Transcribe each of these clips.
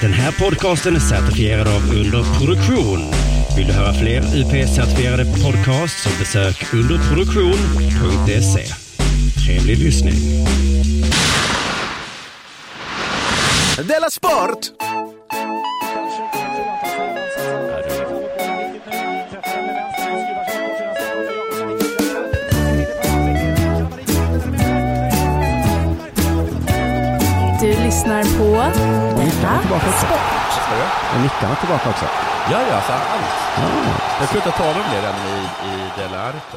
Den här podcasten är certifierad av Underproduktion. Vill du höra fler UP-certifierade podcasts så besök underproduktion.se. Trevlig lyssning. Della Sport! Du lyssnar på Della Sport. Och nickarna tillbaka också. Ja, ja, så här allt. Jag slutade tala om det redan i, i Dela Arte.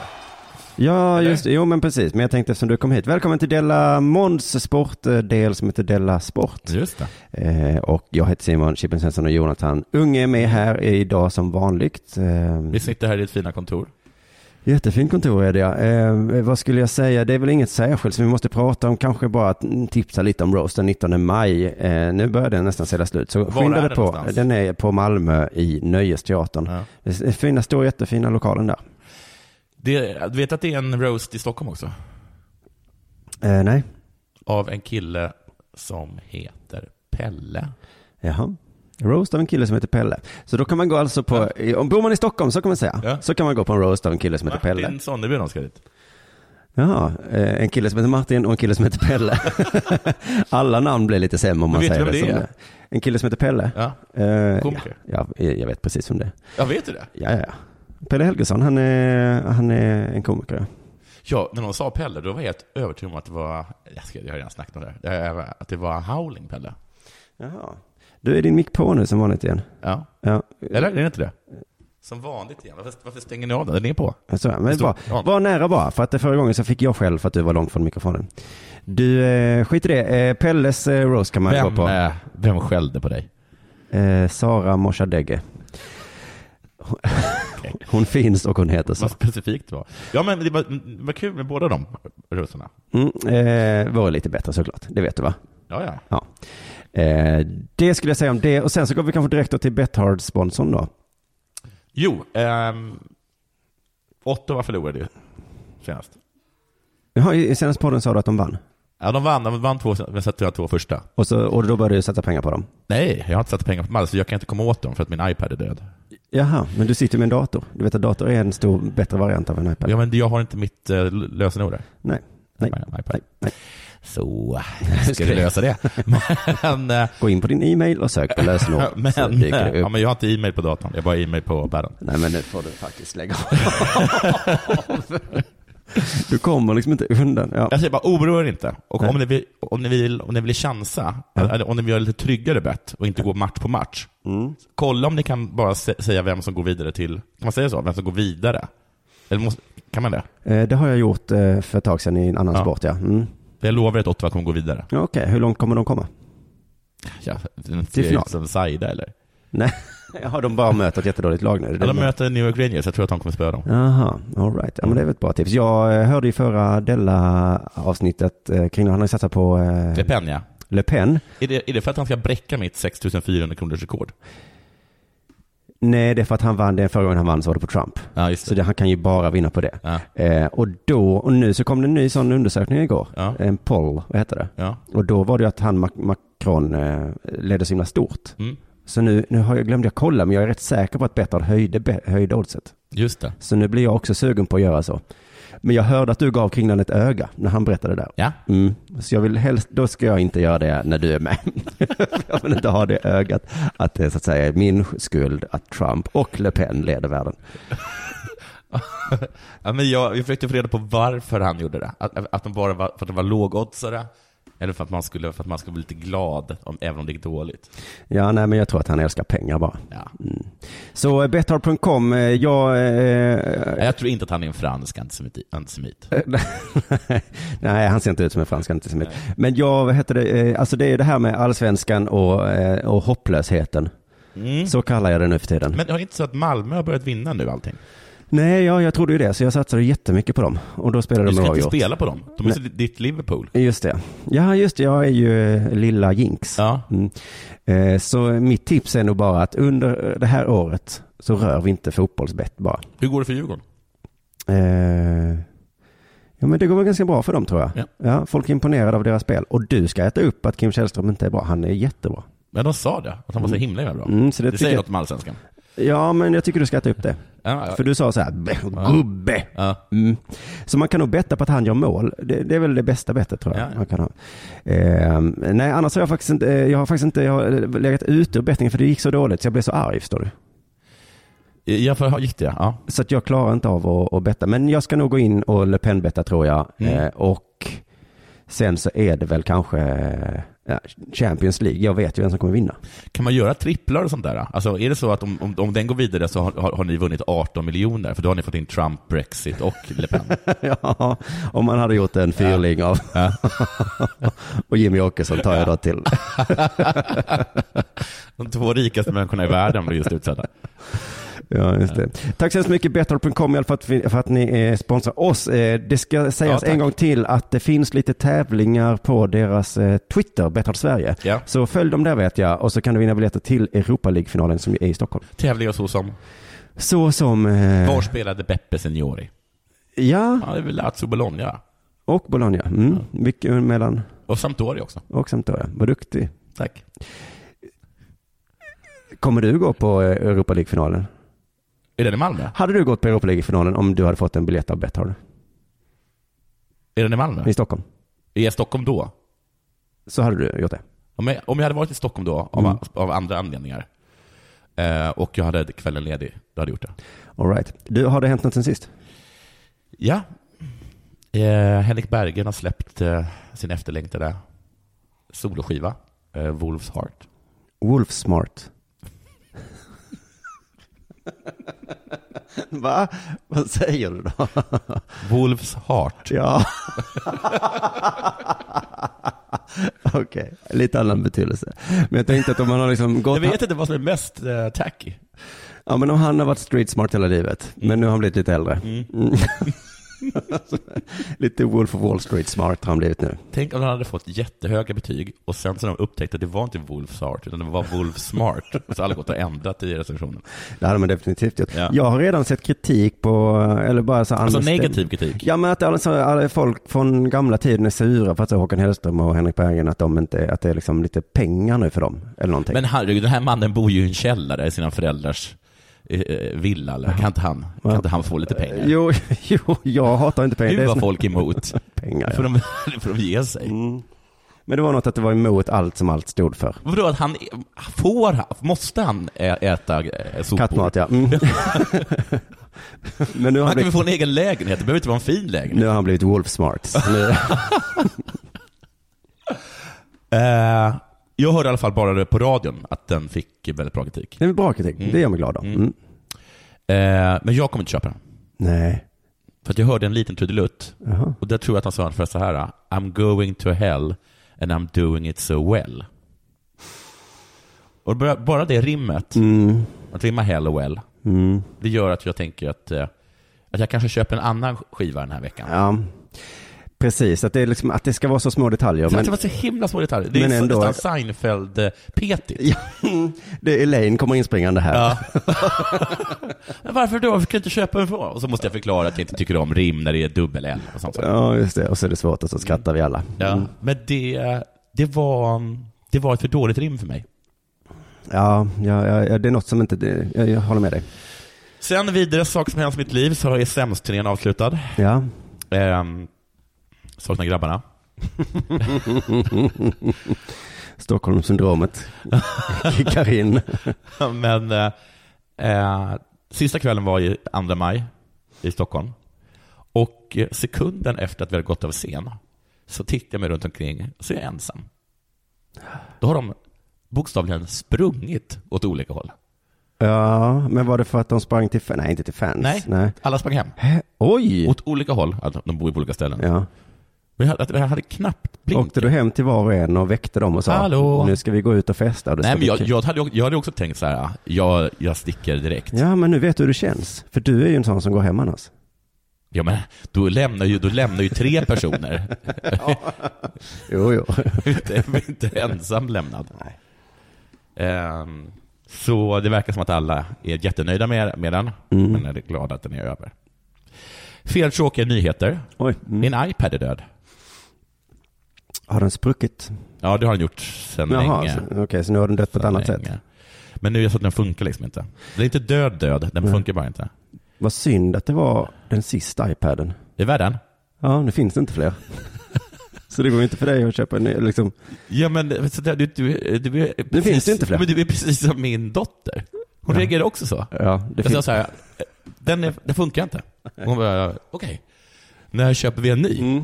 Ja, Eller? just det. Jo, men precis. Men jag tänkte eftersom du kom hit. Välkommen till Della Måns sportdel som heter Della Sport. Just det. Eh, och jag heter Simon Chippen Svensson och Jonathan Unge är med här idag som vanligt. Eh, Vi sitter här i ditt fina kontor. Jättefint kontor är det ja. eh, Vad skulle jag säga? Det är väl inget särskilt som vi måste prata om. Kanske bara att mm, tipsa lite om Roast den 19 maj. Eh, nu börjar den nästan sälja slut. Så skynda är dig den på. någonstans? Den är på Malmö i Nöjesteatern. Ja. Det är Fina, stor, jättefina lokalen där. Det, du vet att det är en roast i Stockholm också? Eh, nej, Av en kille som heter Pelle. Jaha. Roast av en kille som heter Pelle. Så då kan man gå alltså på, om bor man i Stockholm så kan man säga, Ja. så kan man gå på en roast av en kille som heter Pelle. Martin Sonneby och de ska dit. Jaha, eh, en kille som heter Martin och en kille som heter Pelle. Alla namn blir lite sämre om man vet du säger vem det som är? det. En kille som heter Pelle? Ja. Eh, ja, Komiker. ja, jag vet precis om det är. Ja, vet du det? Ja, ja, ja. Pelle Helgesson, han är, han är en komiker. Ja, när de sa Pelle, då var jag helt övertygad om att det var, jag, ska, jag har redan snackat om det här, Eh, att det var Howling Pelle. Jaha. Du, är din mick på nu som vanligt igen? Ja. Ja. Eller? Är det inte det? Som vanligt igen. Varför, varför stänger ni av den? Den är på. Så, men det Förstår. var, Ja. var nära bara, för att det förra gången så fick jag själv för att du var långt från mikrofonen. Du, eh, skit i det. Eh, Pelles eh, roast kan man gå på. eh, vem skällde på dig? Eh, Sara Moshadeghe. Hon- Hon finns och hon heter så. Vad specifikt det var. Ja, men det var, det var kul med båda de rosorna. Mm, eh, var lite bättre såklart, det vet du va? Ja, ja. Ja. Eh, det skulle jag säga om det, och sen så går vi kanske direkt då till Betthard-sponsorn då. Jo, ehm, Ottawa förlorade ju senast. Jaha, i i senaste podden sa du att de vann. Ja, de vann, de vann två, sen- men satte jag två första. Och, så, och då började du sätta pengar på dem. Nej, jag har inte satt pengar på dem alls, så jag kan inte komma åt dem för att min iPad är död. Jaha, men du sitter med en dator. Du vet att dator är en stor, bättre variant av en iPad. Ja, men jag har inte mitt eh, lösenord där. Nej, nej, Nej, iPad. nej, nej. Så, hur ska du lösa det? Men, eh, Gå in på din e-mail och sök på lösenord. så men, eh, dyker det ja, upp. men jag har inte e-mail på datorn, jag har bara e-mail på bären. Nej men nu får du faktiskt lägga av. du kommer liksom inte undan. Ja. Alltså, Jag säger bara, oroa er inte. Och Nej. om ni, vill, om, ni vill, om ni vill chansa, eller om ni vill göra lite tryggare bett och inte gå match på match, kolla om ni kan bara sä- säga vem som går vidare till, kan man säga så? Vem som går vidare? Eller måste, kan man det? Eh, Det har jag gjort eh, för ett tag sedan i en annan Ja. sport ja. Mm. Jag lovar att Ottawa kommer gå vidare. ja Okej, hur långt kommer de komma? Ja, det Till ser final. ut som Saida eller? Nej, ja, de bara möter ett jättedåligt lag nu. Det är det Ja, de jag menar. möter New York Rangers, jag tror att de kommer spöa dem. Jaha, alright. Ja men det är väl ett bra tips. Jag eh, hörde i förra Della-avsnittet eh, kring, han har ju satsat på eh, Det är Penja. Le Pen. Är det, är det för att han ska bräcka mitt 6400 kronors rekord? Nej, det är för att han vann, den förra gången han vann så var det på Trump. Ja, just Så det. det, han kan ju bara vinna på det. Ja. Eh, och då, och nu så kom det en ny sån undersökning igår. Ja. En poll, vad heter det? Ja. Och då var det ju att han, Mac- Macron, eh, ledde så himla stort. Mm. Så nu, nu har jag, glömde jag kolla, men jag är rätt säker på att Betthard höjde, be- höjde oddset. Just det. Så nu blir jag också sugen på att göra så. Men jag hörde att du gav Kringlan ett öga när han berättade det där. Ja. Mm. Så jag vill helst, då ska jag inte göra det när du är med. jag vill inte ha det ögat att det så att säga är min skuld att Trump och Le Pen leder världen. Ja, men jag, jag försökte få reda på varför han gjorde det. Att, att de bara var, för att de var lågoddsare, eller för att, man skulle, för att man skulle bli lite glad, om, även om det gick dåligt. Ja, nej, men jag tror att han älskar pengar bara. Ja. Så eh, betthard.com, eh, jag... eh, Nej, Jag tror inte att han är en fransk antisemit. antisemit. Nej, han ser inte ut som en fransk antisemit. Men jag, vad heter det, eh, alltså det är det här med allsvenskan och, eh, och hopplösheten. Så kallar jag det nu för tiden. Mm. Men är det inte så att Malmö har börjat vinna nu allting? Nej, ja, jag trodde ju det, så jag satsade jättemycket på dem. Och då spelade Du de ska inte oavgjort. spela på dem. De är så ditt Liverpool. Just det. Ja, just det. Jag är ju eh, lilla jinx. Ja. Mm. Eh, Så mitt tips är nog bara att under eh, det här året så rör vi inte fotbollsbett bara. Hur går det för Djurgården? Eh, Ja, men det går väl ganska bra för dem tror jag. Ja. folk är imponerade av deras spel. Och du ska äta upp att Kim Källström inte är bra. Han är jättebra. Ja, de sa det, att han var så himla, himla bra. Mm, så det det säger tycker- något om allsvenskan. Ja, men jag tycker du ska äta upp det. Ja, ja. För du sa så här, "Bäh, gubbe. Ja. Mm. Så man kan nog betta på att han gör mål. Det, det är väl det bästa bettet tror jag. Ja, ja. Man kan ha. Ehm, nej, annars har jag faktiskt inte, eh, jag har faktiskt inte jag har legat ute ur bettingen för det gick så dåligt så jag blev så arg förstår du. Ja, för, gick det? Ja. Så att jag klarar inte av att, att betta. Men jag ska nog gå in och Le Pen-betta tror jag. Mm. Eh, och sen så är det väl kanske eh, ja, Champions League. Jag vet ju vem som kommer vinna. Kan man göra tripplar och sånt där? Alltså, är det så att om, om, om den går vidare så har, har, har ni vunnit 18 miljoner? För då har ni fått in Trump, Brexit och Le Pen. ja, om man hade gjort en fyrling av... och Jimmy Åkesson tar jag då till. De två rikaste människorna i världen blir just utsedda. Ja, just det. Tack så hemskt mycket Betthard.com i alla fall för, att vi- för att ni eh, sponsrar oss. Eh, Det ska sägas tack. en gång till att det finns lite tävlingar på deras eh, Twitter, Betthard Sverige. Ja. Så följ dem där vet jag och så kan du vinna biljetter till Europa League-finalen som ju är i Stockholm. Tävlingar så som, Så som... eh, var spelade Beppe Signori? Ja, Ja, det är väl Lazio Bologna. och Bologna. Mm. Mycket mellan Och Sampdoria också. och Sampdoria. Vad duktig. Tack. Kommer du gå på eh, Europa League-finalen? Är den i Malmö? Hade du gått på Europa League-finalen om du hade fått en biljett av Betthard Är den i Malmö? i Stockholm? Är jag i Stockholm då? Så hade du gjort det. Om jag, om jag hade varit i Stockholm då, av, av andra anledningar, eh, och jag hade kvällen ledig, då hade jag gjort det. All right. Du, har det hänt något sen sist? Ja. Eh, Henrik Bergen har släppt eh, sin efterlängtade soloskiva, eh, Wolf's Heart. Wolfsmart. Va? Vad säger du då? Wolf's Heart. Ja. Okej, lite annan betydelse. Men jag tänkte att om man har liksom gått... Jag vet inte vad som är mest eh, tacky. Ja, men om han har varit street smart hela livet, men nu har han blivit lite äldre. Mm. lite Wolf of Wall Street smart har han blivit nu. Tänk om han hade fått jättehöga betyg och sen så när de upptäckte att det var inte Wolf's Heart utan det var Wolf's Smart. Så alla gått och ändrat i recensionen. Det hade man definitivt gjort. Ja. Jag har redan sett kritik på, eller bara så Alltså understand- negativ kritik. Ja men att alla, så- alla folk från gamla tiden är sura för att så Håkan Hellström och Henrik Berggren att, de inte, att det är liksom lite pengar nu för dem. Eller någonting. Men herregud, den här mannen bor ju i en källare i sina föräldrars eh, eh, villa. Eller? Kan, inte han, kan inte han få lite pengar? Jo, jo, jag hatar inte pengar. Det Gud är vad såna- folk är emot. pengar, För ja. de, för de ger sig. Men det var något att det var emot allt som allt stod för. Vadå att han, får han, måste han ä- äta eh, sopor? Kattmat ja. Mm. men nu har, Han kan väl han blivit, få en egen lägenhet, det behöver inte vara en fin lägenhet. nu har han blivit Wolf smart. Så Nu, Eh, jag hörde i alla fall bara det på radion att den fick väldigt bra kritik. det är väl bra kritik. Det gör mig glad om. Mm. Eh, men jag kommer inte köpa den. Nej. För att jag hörde en liten trudelutt. Jaha. Och där tror jag att han sa ungefär så här. I'm going to hell and I'm doing it so well. Och bara- bara det rimmet, Mm. att rimma hell och well, det gör att jag tänker att, eh, att jag kanske köper en annan skiva den här veckan. Ja. Precis, att det, är liksom, att det ska vara så små detaljer. Men, Men det var så himla små detaljer. Det är Men så- ändå- nästan Seinfeld-petigt. Ja, det är Elaine kommer inspringande här. Ja. Men Varför då? Varför kan jag inte köpa en från? Och så måste jag förklara att jag inte tycker om rim när det är dubbel-L och sånt. Ja, just det. Och så är det svårt och så skrattar vi alla. Alltså. Mm. Ja. Men det, det, var, det var ett för dåligt rim för mig. Ja, ja, ja, ja, det är något som inte, det, jag, jag håller med dig. Sen vidare sak som hänt i mitt liv så E är sämst-turnén avslutad. Ja. Ehm, saknar grabbarna. Stockholmssyndromet kickar in. Men eh, eh, sista kvällen var ju 2 maj i Stockholm. Och eh, sekunden efter att vi hade gått av scen så tittar jag mig runt omkring så är jag ensam. Då har de bokstavligen sprungit åt olika håll. Ja, men var det för att de sprang till fans? Nej, inte till fans. Nej, alla sprang hem. Hä? Oj! Åt olika håll. Alltså, de bor ju på olika ställen. Ja. Men jag, hade- jag hade knappt blinkat. Åkte du hem till var och en och väckte dem och sa Hallå? nu ska vi gå ut och festa? Och det Nej, ska men bli jag, kul." jag, hade, ju- jag hade också tänkt så här, ah, jag, jag sticker direkt. Ja. Ja, men nu vet du hur det känns. För du är ju en sån som går hem annars. men då lämnar ju, då lämnar ju tre personer. Jo, jo. inte, inte ensam lämnad. Ehm, så det verkar som att alla är jättenöjda med, med den, men är glada att den är över. Fel tråkiga nyheter. Oj. Mm. Min iPad är död. Har den spruckit? Ja, det har den gjort sedan Jaha, länge. så- okej, så nu har den dött på ett annat Sedan sätt. länge. Men nu är det så att den funkar liksom inte. Den är inte död död, den funkar bara inte. Vad synd att det var den sista iPaden. Det är värre än. Ja, nu finns det inte fler. så det går ju inte för dig att köpa en ny, liksom. Ja, men så där, du, du, du är precis, finns det inte fler. Men du är precis som min dotter. Hon reagerar också så. Ja, det jag sa finns. så här, "Eh, den, är, den funkar inte. Hon bara, okej. När köper vi en ny?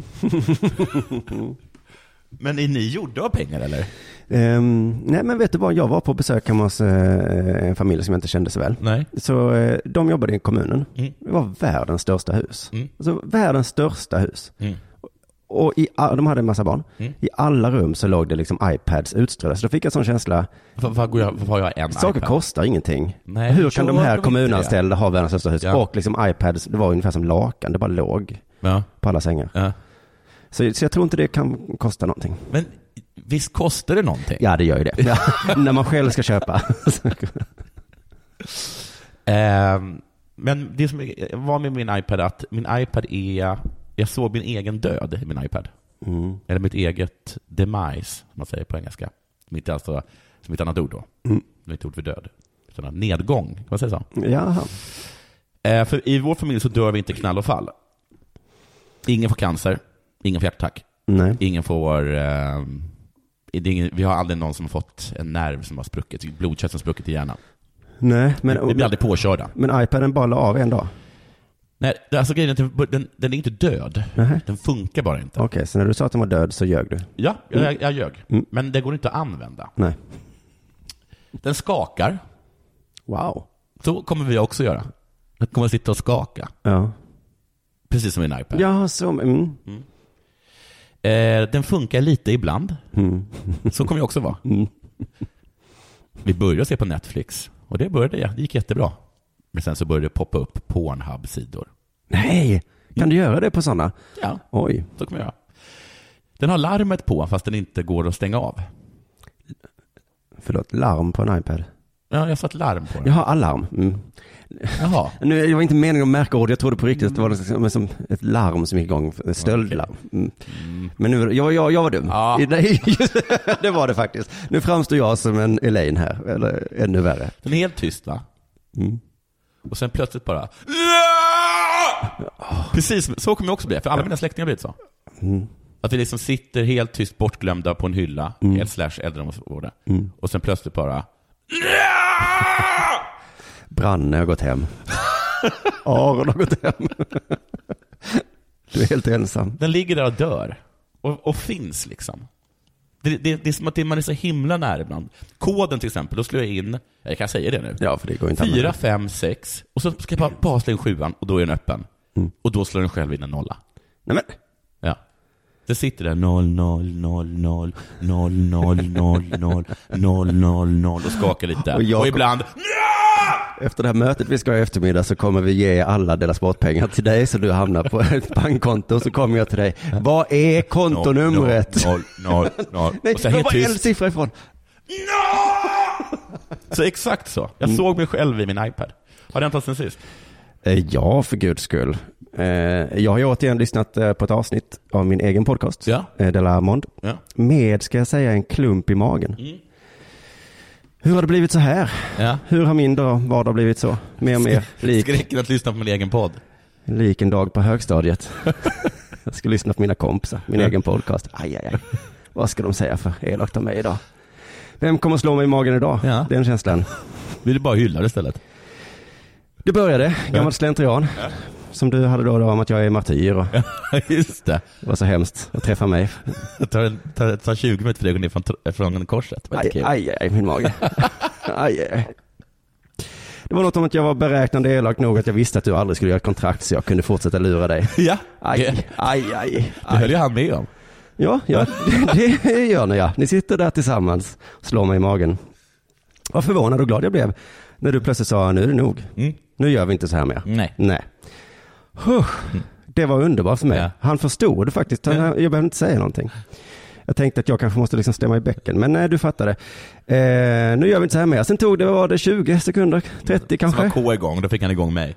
men är ni gjorda av pengar eller? Ehm, nej, men vet du vad? Jag var på besök hemma hos eh, en familj som jag inte kände så väl. Nej. Så eh, de jobbade i kommunen. Mm. Det var världens största hus. Mm. Alltså världens största hus. Mm. Och i, all- de hade en massa barn. Mm. I alla rum så låg det liksom iPads utströdda. Så då fick jag sån känsla, Varför var går jag- varför har jag en saker iPad? kostar ingenting. Nej, Hur kan de gör här inte kommunanställda ha världens största hus? Ja. Och liksom iPads, det var ungefär som lakan, det bara låg det? Ja. på alla sängar. Ja. Så, så jag tror inte det kan kosta någonting. Men visst kostar det någonting? Ja, det gör ju det. Ja, när man själv ska köpa. Ehm, men det som var med min iPad att min iPad är, jag såg min egen död i min iPad. Mm. Eller mitt eget demise, som man säger på engelska. Som inte alltså, som ett annat ord då. Mm. Det är inte ord för död. Utan en nedgång, kan man säga så? Jaha. Eh, för i vår familj så dör vi inte knall och fall. Ingen får cancer, ingen får hjärtattack, Nej. ingen får... Eh, det är ingen, vi har aldrig någon som har fått en nerv som har spruckit, blodkärl som spruckit i hjärnan. Nej, men, vi blir aldrig påkörda. men iPaden bara la av en dag. Nej, det- alltså grejen är att den, den är inte död. Nähä. Den funkar bara inte. Okej, så när du sa att den var död så ljög du? Ja, jag, jag ljög. Mm. Men det går inte att använda. Nej. Den skakar. Wow. Så kommer vi också göra. Jag kommer sitta och skaka, Ja. precis som min iPad. Ja, så, mm. Eh, den funkar lite ibland. Så kommer jag också vara. Vi började se på Netflix och det började jag. Det gick jättebra. Men sen så började det poppa upp Pornhub-sidor. Nej, kan du göra det på sådana? Ja, Oj. så kommer jag göra. Den har larmet på fast den inte går att stänga av. Förlåt, larm på en iPad. Ja, jag satt larm på den. Jaha, alarm. Mm. Jaha. Nu, det var inte meningen att märka ord, jag trodde på riktigt att det var något slags- men som ett larm som gick igång, ett stöldlarm. Mm. Men nu, jag, jag, jag var dum. Ja. Nej, just det, det var det faktiskt. Nu framstår jag som en Elaine här, eller ännu värre. Den är helt tyst va? Och sen plötsligt bara... Precis, så kommer jag också bli. För alla mina släktingar har blivit så. Att vi liksom sitter helt tyst bortglömda på en hylla, helt slash äldreomsorgsvården. Och sen plötsligt bara... Branne har gått hem. Aron har gått hem. Du är helt ensam. Den ligger där och dör. Och, och finns liksom. Det, det, det är som att det, man är så himla nära ibland. Koden till exempel, då slår jag in, jag kan säga det nu. Ja, för det går inte att Fyra, använda. fem, sex. Och så ska jag bara, bara slå in sjuan och då är den öppen. Och då slår den själv in en nolla. Nej, men. Ja. Det sitter där 0, 0, 0, 0, 0, 0, 0, 0, 0, 0, 0 och skakar lite. Och Och, jag- ibland... Efter det här mötet vi ska ha i eftermiddag så kommer vi ge alla deras sportpengar till dig så du hamnar på ett bankkonto och så kommer jag till dig. Vad är kontonumret? 0, 0, 0. Nej, Och så jag helt var en tyst. siffra ifrån. Så exakt så. Jag Mm. såg mig själv i min iPad. Har det hänt oss sen sist? Eh, Ja, för guds skull. Eh, Jag har ju återigen lyssnat eh, på ett avsnitt av min egen podcast, Ja. eh, De la Monde, Ja. med, ska jag säga, en klump i magen. Hur har det blivit så här? Ja. Hur har min dag, vardag blivit så? Mer och mer lik, Skräcken att lyssna på min egen podd. lik en dag på högstadiet. Jag ska lyssna på mina kompisar, min egen podcast. Aj, aj, aj. Vad ska de säga för elakt om mig idag? Vem kommer slå mig i magen idag? Ja. Den känslan. Vill du bara hylla det istället? Det började, gammal slentrian. Som du hade då, då om att jag är martyr och Just det. det var så hemskt att träffa mig. Det tar, en- tar, tar 20 minuter för dig att gå ner från, tr- från korset. Vad Aj, kul. aj, aj, min mage. Aj, aj, aj. Det var något om att jag var beräknande elak nog att jag visste att du aldrig skulle göra ett kontrakt så jag kunde fortsätta lura dig. Ja, Aj, det, aj, aj. det höll aj. ju han med om. Ja, ja det, det gör ni ja. Ni sitter där tillsammans och slår mig i magen. Vad förvånad och glad jag blev när du plötsligt sa nu är det nog. Mm. Nu gör vi inte så här mer. Nej. Nej. Huh. Det var underbart för mig. Ja. Han förstod faktiskt. Han, Jag behövde inte säga någonting. Jag tänkte att jag kanske måste liksom stämma i bäcken, men nej, du fattade. Eh, nu gör vi inte så här mer. Sen tog det, vad var det 20 sekunder, 30 Som var kanske. K igång, då fick han igång mig.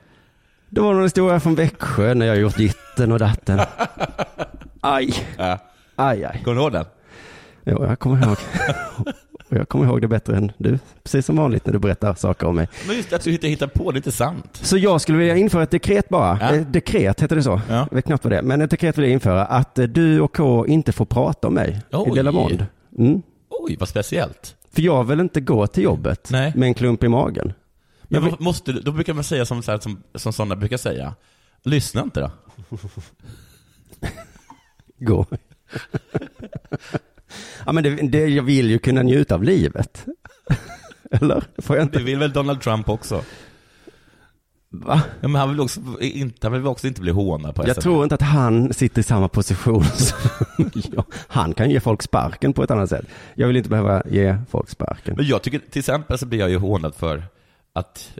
Det var någon historia från Växjö när jag gjort ditten och datten. Aj, Ja. aj, aj. Kommer du ihåg den? Jo, jag kommer ihåg. Och jag kommer ihåg det bättre än du, precis som vanligt när du berättar saker om mig. Men just att du hittar, hittar på, det är inte sant. Så jag skulle vilja införa ett dekret bara. Ja. Eh, Dekret, heter det så? Ja. Jag vet knappt vad det är. Men ett dekret vill jag införa att eh, du och K inte får prata om mig i Oj. Delamond. Mm. Oj, vad speciellt. För jag vill inte gå till jobbet Nej. med en klump i magen. Men vad- måste, du- då brukar man säga som, så här, som, som sådana brukar säga. Lyssna inte då. Gå. ja, men det, det, jag vill ju kunna njuta av livet. Eller? Får jag inte? Det vill väl Donald Trump också? Va? Ja, men han vill också inte, han vill också inte bli hånad på Jag SMB. tror inte att han sitter i samma position som jag. Han kan ge folk sparken på ett annat sätt. Jag vill inte behöva ge folk sparken. Men jag tycker, till exempel så blir jag ju hånad för att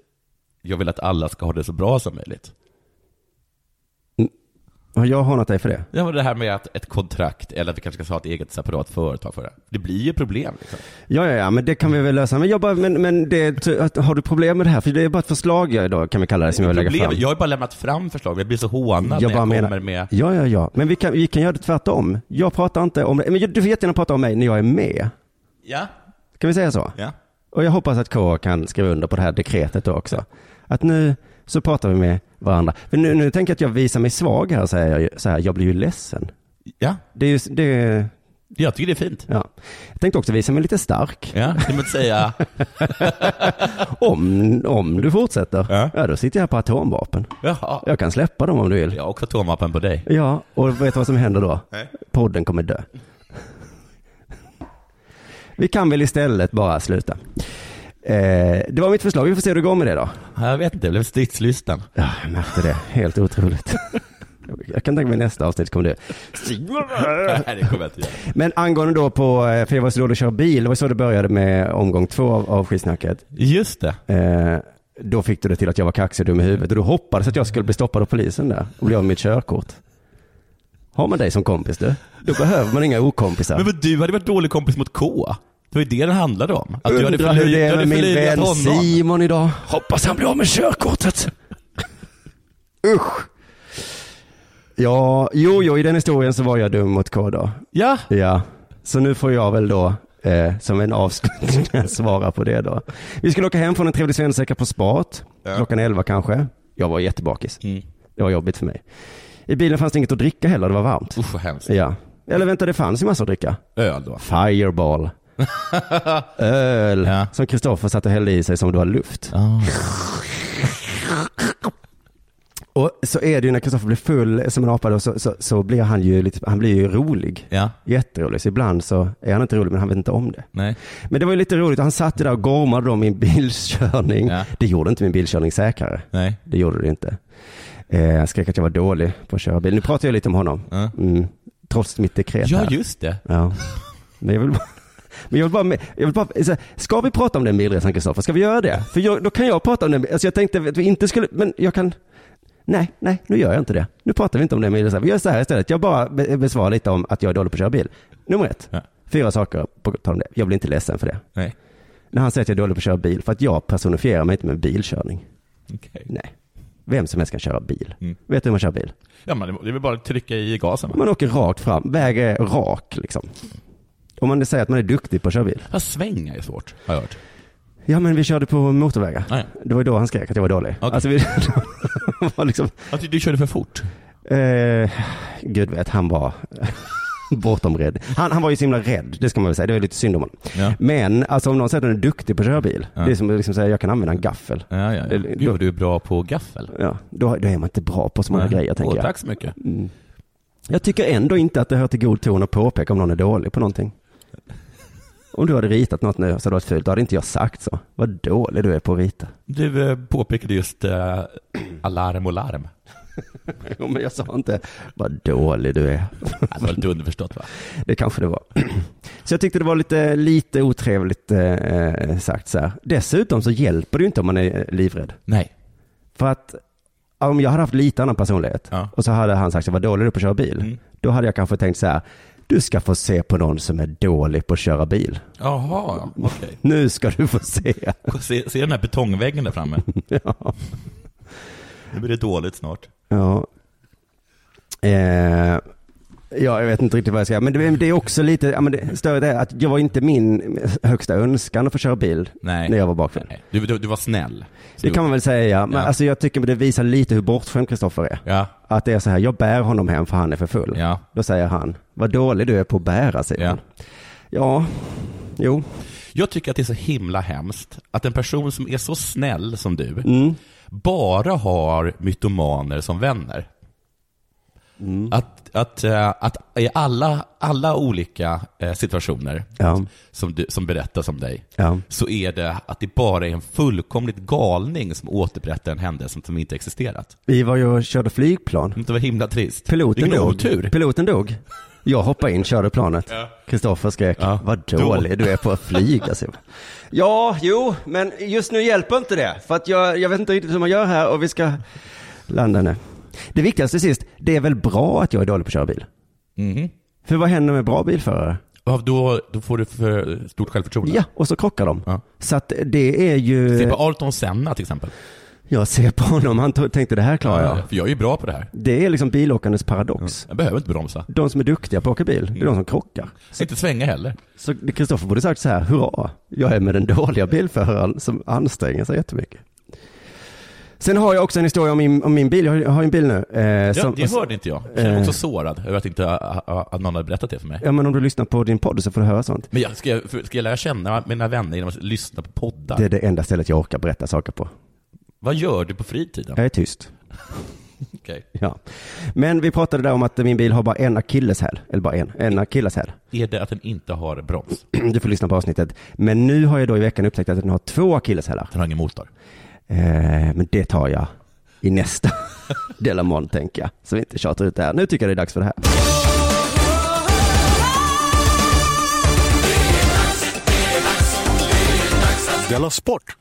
jag vill att alla ska ha det så bra som möjligt. Har jag hånat dig för det? Ja, men det här med att ett kontrakt, eller att vi kanske ska ha ett eget separat företag för det. Det blir ju problem liksom. Ja, ja, ja, men det kan vi väl lösa. Men, jag bara, men, men det, att- har du problem med det här? För det är bara ett förslag jag idag kan vi kalla det som jag vill lägga Problem, fram. jag har ju bara lämnat fram förslag, jag blir så hånad när jag kommer med... Ja, ja, ja. Men vi kan, vi kan göra det tvärtom. Jag pratar inte om det. Men du får jättegärna prata om mig när jag är med. Ja, Kan vi säga så? ja. Och jag hoppas att K kan skriva under på det här dekretet då också. Att nu så pratar vi med varandra. För nu, nu tänker jag att jag visar mig svag här och säger jag ju- så här, jag blir ju ledsen. Ja, Det är ju, s- det, jag tycker det är fint. ja. Jag tänkte också visa mig lite stark. Ja, det måste säga, Om, om du fortsätter, ja. Ja. då sitter jag här på atomvapen. jaha, Jag kan släppa dem om du vill. jag har också atomvapen på dig. Ja, och vet du vad som händer då? Nej. Podden kommer dö. Vi kan väl istället bara sluta. Eh, det var mitt förslag, vi får se hur det går med det då. Ja, Jag vet inte, jag blev stridslysten. Ja, jag märkte det. Helt otroligt. Jag kan tänka mig nästa avsnitt kommer det. Nej, det kommer jag inte göra. Men angående då på, eh, för jag var så dålig att köra bil, det var så det började med omgång två av, av skitsnacket. Just det. Eh, då fick du det till att jag var kaxig och dum i huvudet och du hoppades att jag skulle bli stoppad av polisen där och bli av med mitt körkort. Har man dig som kompis du, då behöver man inga okompisar. Men vad du hade varit dålig kompis mot K. Det var ju det den handlade om. Att du hade Undrar hur förlöj- det du är hade med min förlöjligat vän honom. Simon idag. Hoppas han blir av med körkortet. Usch. Ja, jo, jo, i den historien så var jag dum mot K då. Ja, Ja, så nu får jag väl då eh, som en avslutning svara på det då. Vi skulle åka hem från en trevlig svensexa på spat, Ja. klockan 11 kanske. Jag var jättebakis. Mm. Det var jobbigt för mig. I bilen fanns det inget att dricka heller, det var varmt. usch vad hemskt. Ja. Eller vänta, det fanns ju massor att dricka. Öl då. Fireball. Öl. Ja. Som Kristoffer satt och hällde i sig som det var luft. Ah, Och så är det ju när Kristoffer blir full som en apa då, så, så, så blir han ju lite, han blir ju rolig. Ja, Jätterolig. Så ibland så är han inte rolig men han vet inte om det. nej. Men det var ju lite roligt, han satt ju där och gormade om min bilkörning. Ja. Det gjorde inte min bilkörning säkrare. Nej. Det gjorde det inte. Eh, jag skrek att jag var dålig på att köra bil. Nu pratar jag lite om honom. Ja. Mm. Trots mitt dekret Ja, här. just det. Ja. Men jag vill bara... Men jag vill bara, jag vill bara så här, ska vi prata om den bilresan Kristoffer? Ska vi göra det? För jag, då kan jag prata om den, alltså jag tänkte att vi inte skulle, men jag kan, nej, nej, nu gör jag inte det. Nu pratar vi inte om den bilresan. Vi gör så här istället, jag bara be- besvarar lite om att jag är dålig på att köra bil. Nummer ett, Ja. fyra saker på tal om det. Jag blir inte ledsen för det. Nej. När han säger att jag är dålig på att köra bil, för att jag personifierar mig inte med bilkörning. Okej. Nej. Vem som helst kan köra bil. Mm. Vet du hur man kör bil? Ja, men det är väl bara att trycka i gasen va? Man åker rakt fram, vägen är rak liksom. Om man säger att man är duktig på att köra bil. Ja, svänga är svårt, har jag hört. Ja, men vi körde på motorvägar. Ah, ja. Det var ju då han skrek att jag var dålig. Okej. Alltså, vi var liksom, Jag tyckte Alltså, du körde för fort. eh, gud vet, han var bortom rädd. Han, han var ju så himla rädd, det ska man väl säga. Det var lite synd om honom. Ja. Men alltså, om någon säger att han är duktig på att köra bil, Ja. det är som att liksom säga jag kan använda en gaffel. Ja, ja, ja. Eller- Gud vad du är bra på gaffel. Ja, då, då är man inte bra på så många Nej. grejer, tänker Åh, jag. Tack så mycket. Mm. Jag tycker ändå inte att det hör till god ton att påpeka om någon är dålig på någonting. Om du hade ritat något nu så hade det varit fult, då hade inte jag sagt så. Vad dålig du är på att rita. Du eh, påpekade just eh, alarm och larm. Jo, men jag sa inte vad dålig du är. Det var lite underförstått va? Det kanske det var. Så jag tyckte det var lite, lite otrevligt eh, sagt så här. Dessutom så hjälper det ju inte om man är eh, livrädd. Nej. För att om jag hade haft lite annan personlighet Ja. och så hade han sagt så vad dålig du är på att köra bil. Mm. Då hade jag kanske tänkt så här, du ska få se på någon som är dålig på att köra bil. Jaha, okej. Nu ska du få se. Se, se den här betongväggen där framme. ja. Nu blir det dåligt snart. Ja. Eh, ja, jag vet inte riktigt vad jag ska säga. Men det, det är också lite, ja, men det, större är att jag var inte min högsta önskan att få köra bil Nej. när jag var bakfull. Nej. Du, du, du var snäll. Det kan man väl säga, men Ja. alltså, jag tycker det visar lite hur bortskämd Kristoffer är. Ja, Att det är så här, jag bär honom hem för han är för full. ja. Då säger han, vad dålig du är på att bära, säger Ja. han. Ja, jo, Jag tycker att det är så himla hemskt att en person som är så snäll som du mm. bara har mytomaner som vänner. Mm. Att, att, eh, att i alla, alla olika eh, situationer ja, som, du, som berättas om dig ja. så är det att det bara är en fullkomligt galning som återberättar en händelse som inte existerat. Vi var ju och körde flygplan. Det var himla trist. Piloten Vilken dog. otur. Piloten dog. Jag hoppade in, körde planet. Kristoffer skrek, Ja. vad dålig du är på att flyga. säger jag. ja, jo, men just nu hjälper inte det. För att jag, jag vet inte riktigt hur man gör här och vi ska landa nu. Det viktigaste sist, det är väl bra att jag är dålig på att köra bil? Mhm. För vad händer med bra bilförare? Ja, då, då får du för stort självförtroende. Ja, och så krockar de. Ja. Så att det är ju... Se på Arton Senna till exempel. Jag ser på honom, han to- tänkte det här klarar jag. För jag är ju bra på det här. Det är liksom bilåkandes paradox. Jag behöver inte bromsa. De som är duktiga på att åka bil, det är de som krockar. Inte svänga heller. Så Kristoffer borde sagt så här, hurra, jag är med den dåliga bilföraren som anstränger sig jättemycket. Sen har jag också en historia om min, om min bil, jag har- jag har ju en bil nu. Eh, Ja, som- det hörde inte jag. Jag känner mig Eh. också sårad över att inte ah, ah, att någon hade berättat det för mig. ja, men om du lyssnar på din podd så får du höra sånt. Men jag, ska, jag, för- ska jag lära känna mina vänner genom att lyssna på poddar? Det är det enda stället jag orkar berätta saker på. Vad gör du på fritiden? Jag är tyst. Okej. Ja. Men vi pratade där om att min bil har bara en akilleshäl, eller bara en, en akilleshäl. Är det att den inte har broms? Du får lyssna på avsnittet. Men nu har jag då i veckan upptäckt att den har två akilleshälar. Den har ingen motor? Eh, men det tar jag i nästa Delamon, tänker jag. Så vi inte tjatar ut det här. Nu tycker jag det är dags för det här. Della Sport!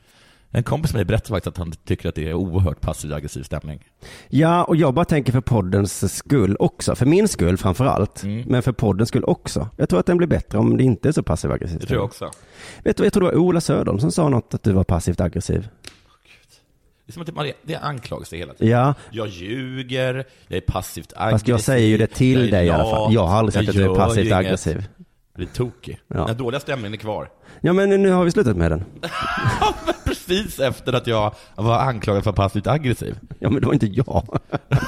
En kompis med mig berättade faktiskt att han tycker att det är oerhört passiv aggressiv stämning. Ja, och jag bara tänker för poddens skull också. För min skull framför allt, Mm. men för poddens skull också. Jag tror att den blir bättre om det inte är så passiv aggressivt. Det tror jag också. Vet du, vad, jag tror det var Ola Söderholm som sa något att du var passivt aggressiv. Det är som att man är- det är anklagelser hela tiden. Ja, Jag ljuger, jag är passivt aggressiv. fast jag säger ju det jag till är dig i alla lat, fall. Jag har aldrig sagt jag att du är gör ju passivt inget. aggressiv. Jag blir tokig. Ja. Den dåliga stämningen är kvar. Ja, men nu har vi slutat med den. Precis efter att jag var anklagad för passivt aggressiv. Ja, men det var inte jag. Den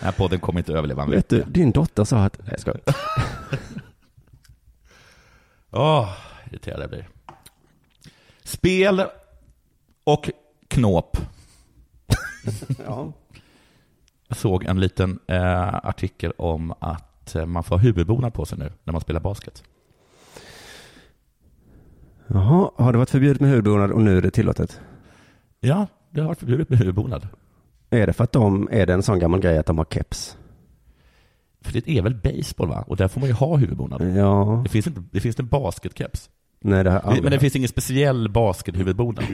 här podden kommer inte överleva en Vet vecka. du, din dotter sa att... Nej, jag skojar. Åh, irriterad jag blir. Spel och knåp. Ja. Jag såg en liten eh, artikel om att eh, man får ha huvudbonad på sig nu när man spelar basket. Jaha, har det varit förbjudet med hudbonad och nu är det tillåtet? Ja, det har varit förbjudet med huvudbonad. Är det för att de, är det en sån gammal grej att de har keps? För det är väl baseball va? Och där får man ju ha Mm. huvudbonad. Ja, Det finns, inte, det finns en basketkeps. nej det har jag aldrig. Men det finns ingen speciell baskethuvudbonad.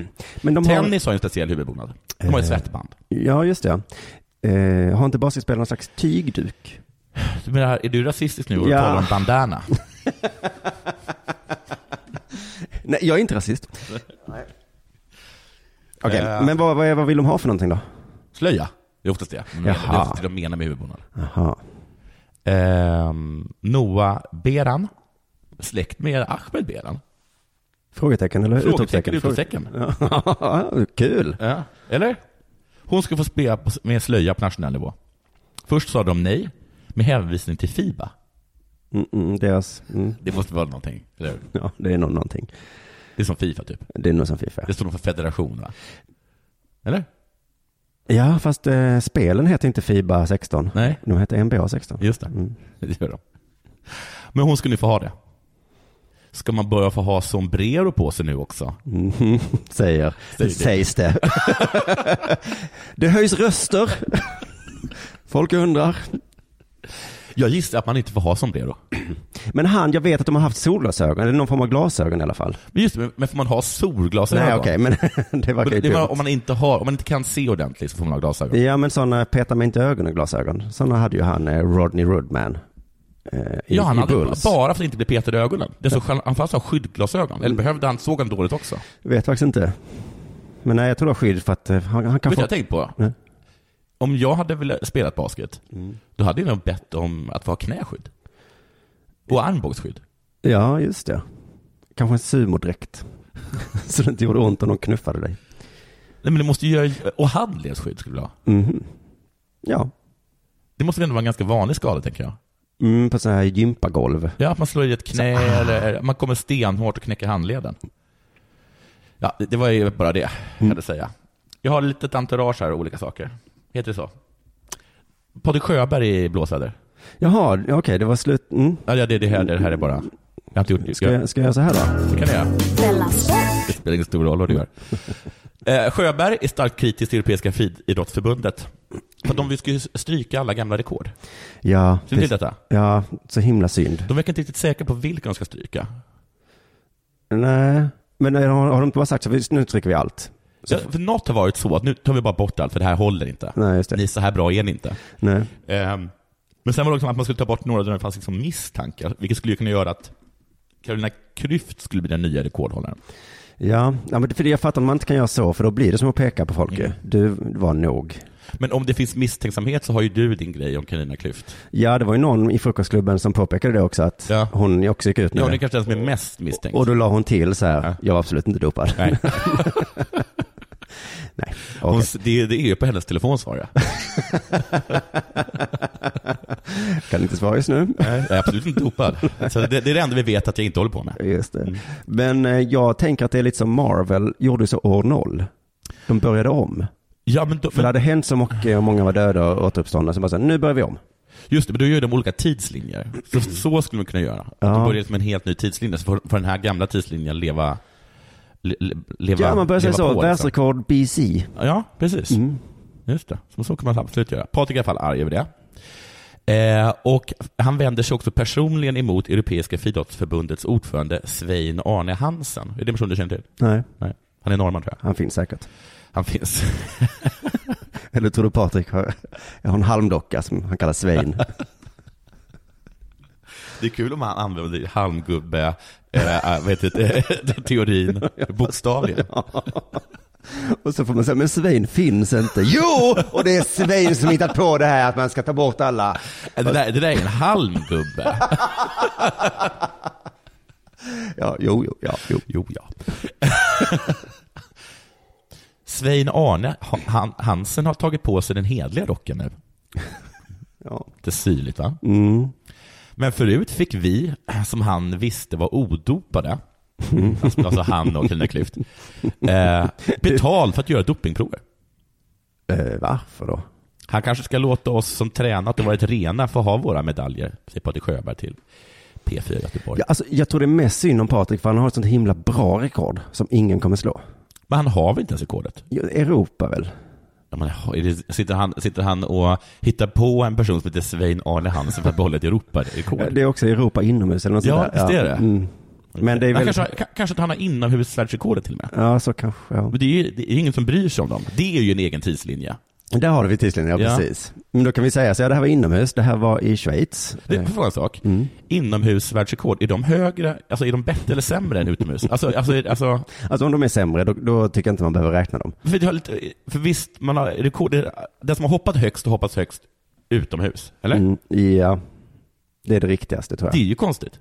Men de har, Tennis har ju en speciell huvudbonad. De har ju Mm. Eh. svettband. ja just det. Eh, har inte basketspelare någon slags tygduk? Du menar, är du rasistisk nu och Ja. talar om bandana? Nej, jag är inte rasist. Okej, Eh. men vad, vad, är, vad vill de ha för någonting då? Slöja, det är oftast det. Men Jaha. Det är oftast det de menar med huvudbonad. Jaha. Ehm, Noah Beran, släkt med Ahmed Beran. Frågetecken eller Frågetecken, utropstecken? utropstecken. Ja, Kul. Ja. Eller? Hon skulle få spela på- med slöja på nationell nivå. Först sa de nej, med hänvisning till Fiba. Mm, mm, deras, mm, Det måste vara någonting, eller hur? ja, det är nog någonting. Det är som Fifa typ. Det är nog som Fifa. Det står nog för federation va? Eller? Ja, fast eh, spelen heter inte Fiba 16. Nej. De heter NBA 16. Just det. Mm. Det gör de. Men hon ska nu få ha det. Ska man börja få ha sombrero på sig nu också? Mhm, Säger. Säger det. Sägs det. det höjs röster. Folk undrar. Jag gissar att man inte får ha sombrero. Men han, jag vet att de har haft solglasögon, eller någon form av glasögon i alla fall. Men just det, men får man ha solglasögon? Nej, okej, men det verkar Men ju det är bara dumt. om man inte har, om man inte kan se ordentligt så får man ha glasögon. Ja, men sådana peta mig inte i ögonen-glasögon. Sådana hade ju han eh, Rodney Rudman. eh, I, ja, han i hade Bulls. bara för att inte bli petad i ögonen. Det såg, han fanns ha skyddglasögon. Mm. Eller behövde han, såg han dåligt också? Vet Vet faktiskt inte. Men nej, jag tror det var skydd för att eh, han, han du kan vad få... jag tänkt på? Nej. Om jag hade velat spela basket, Mm. då hade jag nog bett om att få ha knäskydd. Och armbågsskydd. Ja, just det. Kanske en sumodräkt. Så det inte gjorde ont om de knuffade dig. Nej, men det måste ju göra, och handledsskydd skulle jag ha. Mhm. Ja, Det måste väl ändå vara en ganska vanlig skada, tänker jag. mm, på sådana här gympagolv. Ja, att man slår i ett knä eller man kommer stenhårt och knäcker handleden. Ja, det, det var ju bara det jag hade Mm. att säga. Jag har lite entourage här och olika saker. Heter det så? Patrik Sjöberg i blåsväder. Jaha, okej, det var slut. Mm. Ja, det, det, här, det här är bara... Jag har inte gjort... Ska, jag, ska jag göra så här då? Det kan jag göra. Della Sport. Det spelar ingen stor roll vad du gör. Eh, Sjöberg är starkt kritisk till Europeiska friidrottsförbundet. För att de vill ju stryka alla gamla rekord. Ja, Känner du det- till detta? ja, så himla synd. De verkar inte riktigt säkra på vilka de ska stryka. Nej, men nej, har, har de inte bara sagt så här, nu trycker vi allt? Ja, för något har varit så att nu tar vi bara bort allt för det här håller inte. Nej, just det. Ni, så här bra är ni inte. Nej. Ehm, men sen var det också att man skulle ta bort några där det fanns liksom misstankar, vilket skulle ju kunna göra att Carolina Klüft skulle bli den nya rekordhållaren. Ja, ja men det- för det jag fattar att man inte kan göra så, för då blir det som att peka på folk ju. Mm. Du var nog. Men om det finns misstänksamhet så har ju du din grej om Carolina Klüft. Ja, det var ju någon i frukostklubben som påpekade det också, att Ja. hon också gick ut med Ja, hon är det. kanske den som är mest misstänkt. Och då la hon till så här, Ja. jag var absolut inte dopad. Nej, Nej. hon, Okej. det, det är ju på hennes telefon svarar jag. Kan inte svara just nu. Jag är absolut inte dopad. Så det, det är det enda vi vet att jag inte håller på med. Just det. Men eh, jag tänker att det är lite som Marvel gjorde så år noll. De började om. Ja, men då, För det men, hade hänt så mycket och många var döda och återuppståndna, så bara så här, nu börjar vi om. just det, men då gör ju de olika tidslinjer. Så, så skulle man kunna göra. Ja. Att de börjar som en helt ny tidslinje, så får, får den här gamla tidslinjen leva le, le- leva, Ja, man börjar Mm. leva på, säga så, liksom. världsrekord BC. Ja, precis. Just det. Så, så kan man absolut göra. Patrik är i alla fall arg över det. Eh, och han vänder sig också personligen emot Europeiska friidrottsförbundets ordförande Svein Arne Hansen. Är det en person du känner till? Nej, Nej. Han är norrman tror jag. han finns säkert. Han finns. Eller tror du Patrik har, jag har en halmdocka som han kallar Svein? Det är kul om han använder halmgubbe, eh, äh, vet du, eh, teorin bokstavligen. och så får man säga, men Svein finns inte. Jo! Och det är Svein som hittat på det här att man ska ta bort alla. Det där, det där är en halmgubbe. Ja, jo, jo, ja, jo. Jo, ja. Svein Arne han, Hansen har tagit på sig den hedliga rocken nu. Ja. Lite syrligt va? Men förut fick vi, eh, som han visste var odopade, alltså alltså han och Carolina Klüft, eh, betalt för att göra dopingprover. Eh, varför då? Han kanske ska låta oss som tränat och varit rena få ha våra medaljer, säger Patrik Sjöberg till P4 Göteborg. Ja, alltså, jag tror det är mest synd om Patrik för han har ett sånt himla bra rekord som ingen kommer slå. Men han har väl inte ens rekordet? Jo, Europa väl? Ja, men, har- är det, sitter, han, sitter han och hittar på en person som heter Svein Arne Hansen för att behålla ett Eh, Europarekord? Det är också Europa inomhus eller något Ja, sånt där. visst är det. Mm. Men det är Han väl... kanske, har- ka- kanske att han har inomhusvärldsrekordet till och med. Ja, så kanske. Ja. Men det är ju det är ingen som bryr sig om dem. Det är ju en egen tidslinje. Där har vi tidslinjen, ja, Ja. precis. Men då kan vi säga så, ja, det här var inomhus, det här var i Schweiz. Det Eh, får jag en sak. Inomhusvärldsrekord, är de högre, alltså är de bättre eller sämre än utomhus? Alltså, alltså, är- alltså Alltså om de är sämre, då, då tycker jag inte man behöver räkna dem. för, det har lite, för visst, man har rekord, det är- den som har hoppat högst har hoppat högst utomhus, eller? Mm, ja, det är det riktigaste tror Det jag. är ju konstigt.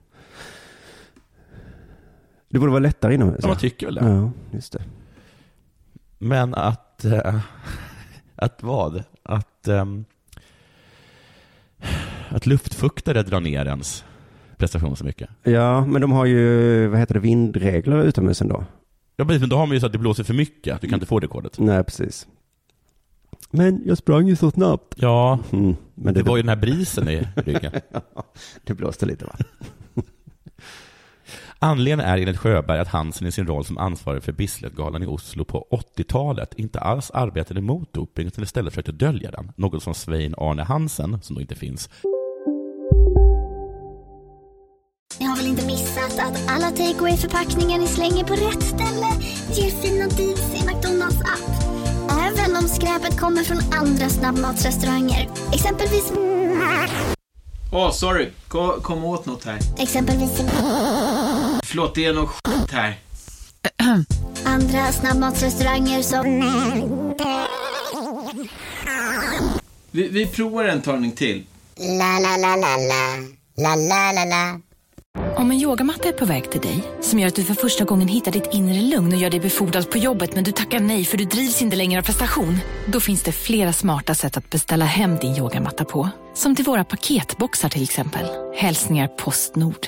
Det borde vara lättare inomhus. Ja, man tycker väl det. Ja, just det. Men att... eh, att vad? Att... ehm, att luftfuktare drar ner ens prestation så mycket. Ja, men de har ju, vad heter det, vindregler utomhus ändå. Ja, precis, men då har man ju så att det blåser för mycket. Du kan inte få rekordet. Nej, precis. Men jag sprang ju så snabbt. Ja, Mm, men det det, var ju den här brisen i ryggen. det blåste lite va? Anledningen är enligt Sjöberg att Hansen i sin roll som ansvarig för Bislett-galan i Oslo på 80-talet inte alls arbetade mot doping utan istället försökte dölja den. Något som Svein Arne Hansen, som då inte finns, Ni har väl inte missat att alla takeaway förpackningar ni slänger på rätt ställe ger fina deals i McDonalds app. Även om skräpet kommer från andra snabbmatsrestauranger. Exempelvis... Åh, sorry. Kom, kom åt något här. Exempelvis... Förlåt, det är något skit här. Andra snabbmatsrestauranger som... Vi, vi provar en talning till. Om en yogamatta är på väg till dig, som gör att du för första gången hittar ditt inre lugn och gör dig befordrad på jobbet men du tackar nej för du drivs inte längre av prestation. Då finns det flera smarta sätt att beställa hem din yogamatta på. Som till våra paketboxar till exempel. Hälsningar Postnord.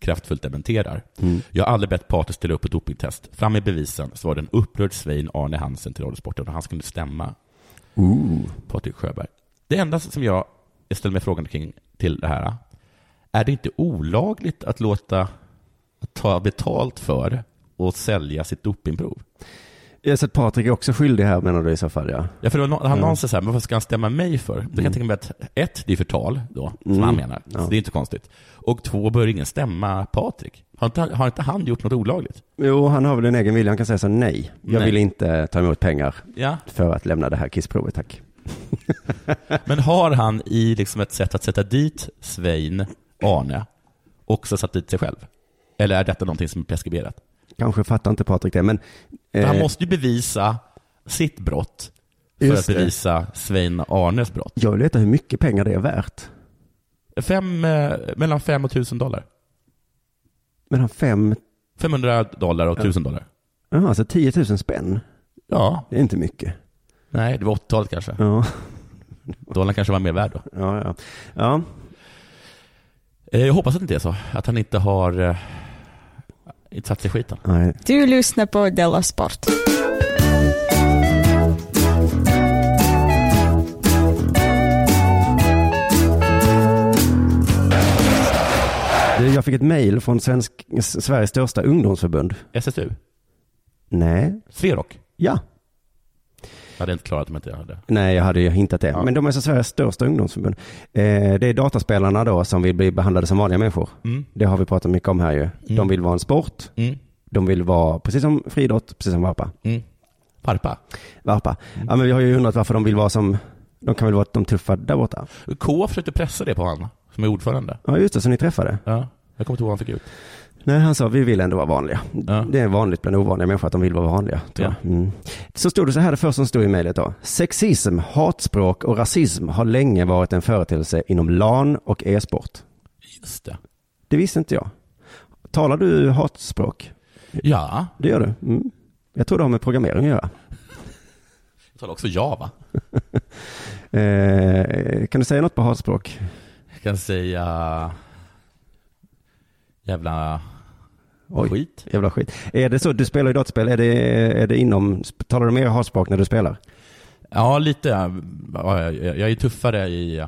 kraftfullt dementerar. Jag har aldrig bett Pater ställa upp ett dopingtest. Fram med bevisen, så var det en upprörd Svein Arne Hansen till Radiosporten och han skulle stämma Patrik Sjöberg. Det enda som jag jag ställer mig frågan kring till det här, är det inte olagligt att låta att ta betalt för och sälja sitt dopingprov? Jag så att Patrik är också skyldig här menar du i så fall ja. Ja, för det var no- han någonstans så här, men vad ska han stämma mig för? Då kan jag tänka mig att ett, det är förtal då, som han menar. Så det är inte konstigt. Och två, bör ingen stämma Patrik? Har inte, har inte han gjort något olagligt? Jo, han har väl en egen vilja. Han kan säga så här, nej. Jag Nej. vill inte ta emot pengar Ja. för att lämna det här kissprovet tack. Men har han i liksom ett sätt att sätta dit Svein, Arne, också satt dit sig själv? Eller är detta någonting som är preskriberat? Kanske fattar inte Patrik det, men... För han eh, måste ju bevisa sitt brott för Just att det. bevisa Svein och Arnes brott. Jag vill veta hur mycket pengar det är värt. Fem, eh, mellan 5 och 1000 dollar. Mellan fem, 500 dollar och 1000 dollar. ja, alltså 10 000 spänn. Ja, Det är inte mycket. nej, det var 80-talet kanske. Ja, Dollarn kanske var mer värd då. ja, ja. ja. Eh, Jag hoppas att det inte är så. Att han inte har eh, inte satt sig i skiten. Nej. Du lyssnar på Della Sport. Du, Jag fick ett mejl från svensk, Sveriges största ungdomsförbund. SSU? Nej. Sverok? Ja. Jag hade inte klarat om jag inte hade. Nej, jag hade ju hintat det. Men de är så Sveriges största ungdomsförbund. Eh, det är dataspelarna då som vill bli behandlade som vanliga människor. Det har vi pratat mycket om här ju. De vill vara en sport. Mm. De vill vara, precis som friidrott, precis som varpa. Mm. Parpa? varpa. Ja, men vi har ju undrat varför de vill vara som, de kan väl vara de tuffa där borta. K försökte pressa det på han som är ordförande. Ja, just det, som ni träffade. Ja. Jag kommer inte ihåg vad han fick ut. Nej, han sa vi vill ändå vara vanliga. Ja. Det är vanligt bland ovanliga människor att de vill vara vanliga. Tror jag. Mm. Så stod det så här, det första som stod i mejlet då. Sexism, hatspråk och rasism har länge varit en företeelse inom LAN och e-sport. Just det. Det visste inte jag. Talar du hatspråk? Ja, Det gör du? Mm. Jag tror det har med programmering att göra. jag talar också Java. Eh, kan du säga något på hatspråk? Jag kan säga jävla Oj. skit. Jävla skit. Är det så, du spelar ju dataspel, är det, är det inom, talar du mer hatspråk när du spelar? Ja, lite. Ja, Jag jag är tuffare i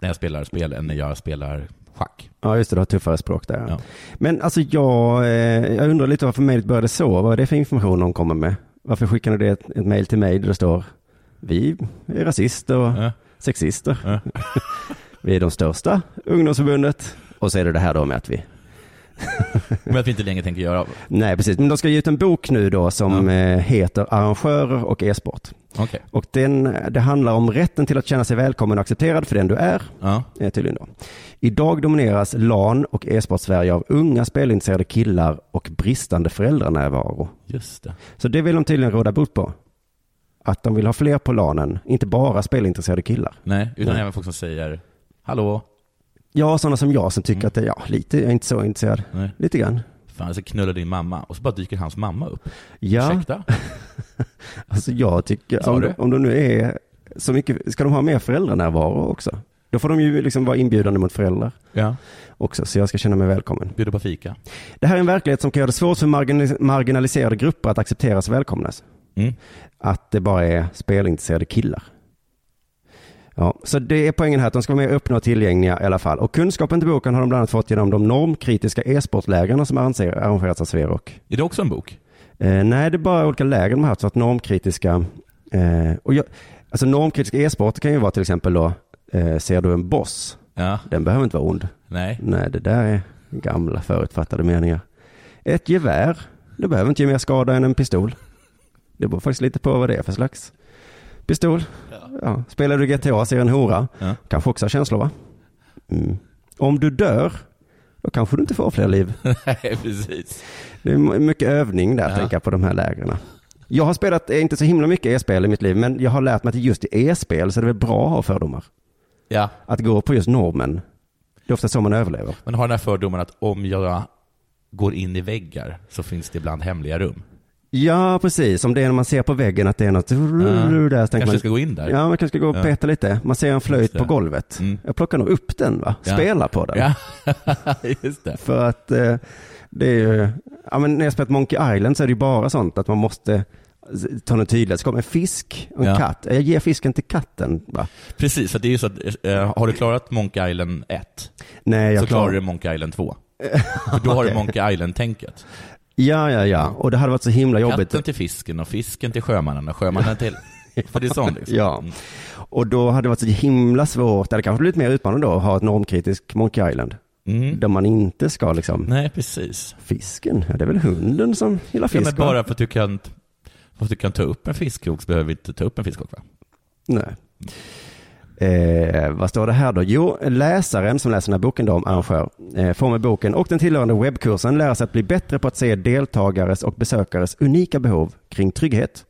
när jag spelar spel än när jag spelar schack. Ja, just det, du har tuffare språk där. Ja. Men alltså jag, eh, jag undrar lite varför mejlet började så. Vad är det för information de kommer med? Varför skickar ni det ett, ett mejl till mig där det står vi är rasister och Ja. sexister. Ja. vi är de största ungdomsförbundet. Och så är det det här då med att vi... Men att vi inte längre tänker göra. Nej, precis. Men de ska ge ut en bok nu då som eh, heter Arrangörer och e-sport. Okej. Och den, det handlar om rätten till att känna sig välkommen och accepterad för den du är. Ja. eh, Tydligen då. Idag domineras LAN och e-sport-Sverige av unga spelintresserade killar och bristande föräldranärvaro. Just det. Så det vill de tydligen råda bot på. Att de vill ha fler på LANen, inte bara spelintresserade killar. Nej, utan Nej. även folk som säger ”Hallå, Ja, sådana som jag som tycker att det, ja, lite, jag är inte så intresserad. Nej. Lite grann. fan jag ska knulla din mamma” och så bara dyker hans mamma upp. Ja. Ursäkta? Alltså jag tycker, Sa om, du? de- om de nu är så mycket, ska de ha mer föräldranärvaro också? Då får de ju liksom vara inbjudande mot föräldrar Ja. också, så jag ska känna mig välkommen. Bjuder på fika. Det här är en verklighet som kan göra det svårt för margin- marginaliserade grupper att accepteras och välkomnas. Mm. Att det bara är spelintresserade killar. Ja, så det är poängen här, att de ska vara mer öppna och tillgängliga i alla fall. Och kunskapen till boken har de bland annat fått genom de normkritiska e-sportlägren som arrangerar- arrangerats av Sverok. Är det också en bok? Eh, nej, det är bara olika läger de har haft, så att normkritiska... Eh, och jag, alltså normkritisk e-sport kan ju vara till exempel då, eh, ser du en boss? Ja. Den behöver inte vara ond. Nej. Nej, det där är gamla förutfattade meningar. Ett gevär, det behöver inte ge mer skada än en pistol. Det beror faktiskt lite på vad det är för slags pistol. Ja. Spelar du GTA och ser en hora, Ja. kanske också har känslor va? Mm. Om du dör, då kanske du inte får fler liv. Nej, precis. Det är m- mycket övning där, tänker jag, på de här lägren. Jag har spelat, eh, inte så himla mycket e-spel i mitt liv, men jag har lärt mig att just i e-spel så är det väl bra att ha fördomar. Ja. Att gå på just normen, det är ofta så man överlever. Men har den här fördomen att om jag går in i väggar så finns det ibland hemliga rum. Ja, precis. Om det är när man ser på väggen att det är något där. Så tänker Kanske man, ska gå in där. Ja, man kanske ska gå och Ja. peta lite. Man ser en Just flöjt det. på golvet. Mm. Jag plockar nog upp den, va? Ja. Spelar på den. Ja, just det. För att eh, det är ju, ja men när jag spelat Monkey Island så är det ju bara sånt att man måste ta något tydligt. Så kommer en fisk och en Ja. katt. Jag ger fisken till katten, va? Precis, så det är ju så att eh, har du klarat Monkey Island 1 Nej, jag så klarar klarar du Monkey Island 2. För då har du Monkey Island-tänket. Ja, ja, ja. Och det hade varit så himla jobbigt. Katten till fisken och fisken till sjömannen och sjömannen till... För det är sånt liksom. Ja. Mm. Och då hade det varit så himla svårt, eller kanske blivit mer utmanande då, att ha ett normkritisk Monkey Island. Mm. Där man inte ska liksom Nej, precis. Fisken? Ja, det är väl hunden som gillar Ja, fisk? men va? bara för att, du kan, för att du kan ta upp en fiskkrok så behöver vi inte ta upp en fiskkrok va? Nej. Eh, vad står det här då? Jo, läsaren som läser den här boken då om arrangör eh, får med boken och den tillhörande webbkursen lära sig att bli bättre på att se deltagares och besökares unika behov kring trygghet,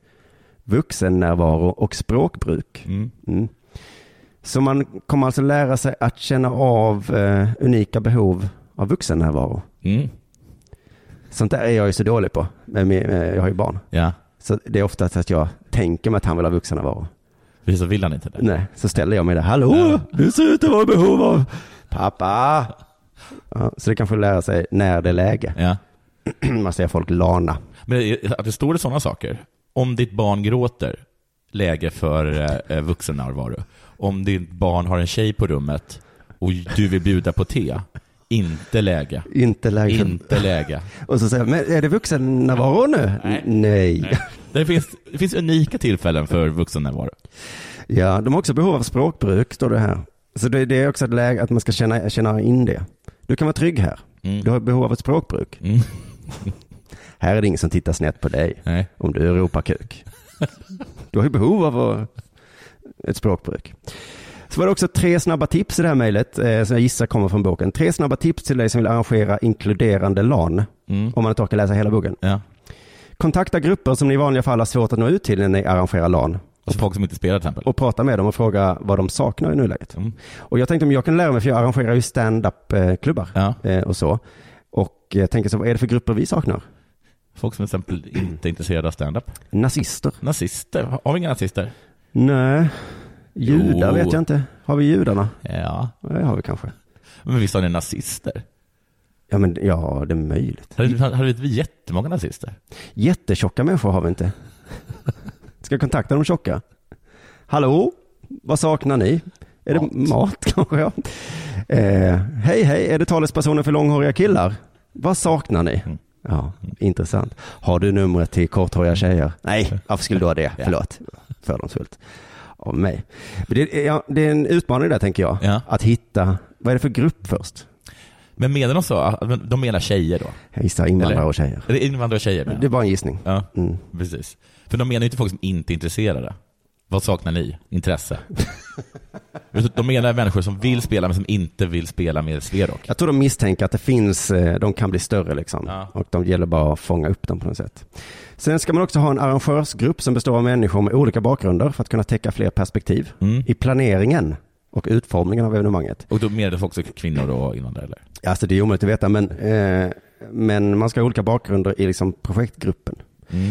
vuxennärvaro och språkbruk. Mm. Mm. Så man kommer alltså lära sig att känna av eh, unika behov av vuxennärvaro. Mm. Sånt där är jag ju så dålig på. Men, eh, jag har ju barn. Ja, Så det är ofta så att jag tänker mig att han vill ha vuxennärvaro. precis så vill han inte det. Nej, så ställer jag mig där. Hallå, du ser ut att vara i behov av pappa. Ja, så det kanske lära sig när det är läge. Ja. Man ser folk lana. Men det- att det står det sådana saker. Om ditt barn gråter, läge för eh, eh, vuxennärvaro. Om ditt barn har en tjej på rummet och du vill bjuda på te, inte läge. Inte läge. Inte läge. Och så säger jag, men är det vuxennärvaro nu? Nej. Nej. Det finns, det finns unika tillfällen för vuxennärvaro. Ja, de har också behov av språkbruk, står det här. Så det, det är också ett läge att man ska känna, känna in det. Du kan vara trygg här. Mm. Du har behov av ett språkbruk. Mm. Här är det ingen som tittar snett på dig Nej. om du ropar kuk. Du har ju behov av att- ett språkbruk. Så var det också tre snabba tips i det här mejlet eh, som jag gissar kommer från boken. Tre snabba tips till dig som vill arrangera inkluderande LAN Mm. om man inte orkar läsa hela boken. Ja. Kontakta grupper som ni i vanliga fall har svårt att nå ut till när ni arrangerar LAN Och så Alltså, folk som inte spelar till exempel. och prata med dem och fråga vad de saknar i nuläget. Mm. Och jag tänkte om jag kan lära mig, för jag arrangerar ju stand-up-klubbar Ja. eh, och så. Och jag tänker så, vad är det för grupper vi saknar? Folk som till exempel inte är intresserade av stand-up. Nazister? Nazister? Har vi inga nazister? Nej. Judar Jo. vet jag inte. Har vi judarna? Ja. Det har vi kanske. Men visst har ni nazister? Ja, men ja, det är möjligt. Hade, hade vi jättemånga nazister? Jättetjocka människor har vi inte. Ska jag kontakta de tjocka? Hallå, vad saknar ni? Är Mat. det mat kanske? Ja. Eh, hej, hej, är det talespersonen för långhåriga killar? Vad saknar ni? Mm. Ja, intressant. Har du numret till korthåriga tjejer? Nej, varför skulle du ha det? Förlåt, fördomsfullt av mig. Men Det är, ja, det är en utmaning där tänker jag, Ja. att hitta, vad är det för grupp först? Men menar de så? att De menar tjejer då? Jag gissar invandrare Eller? och tjejer. Eller invandrare och tjejer? menar Det är jag. bara en gissning. Ja, Mm. precis. För de menar ju inte folk som inte är intresserade. Vad saknar ni? Intresse. de menar människor som vill spela men som inte vill spela med Sverok. Jag tror de misstänker att det finns, eh, de kan bli större liksom. Och de gäller bara att fånga upp dem på något sätt. Sen ska man också ha en arrangörsgrupp som består av människor med olika bakgrunder för att kunna täcka fler perspektiv i planeringen och utformningen av evenemanget. Mm. Och då menar det också kvinnor och invandrare eller? Alltså det är omöjligt att veta, men, eh, men man ska ha olika bakgrunder i liksom projektgruppen.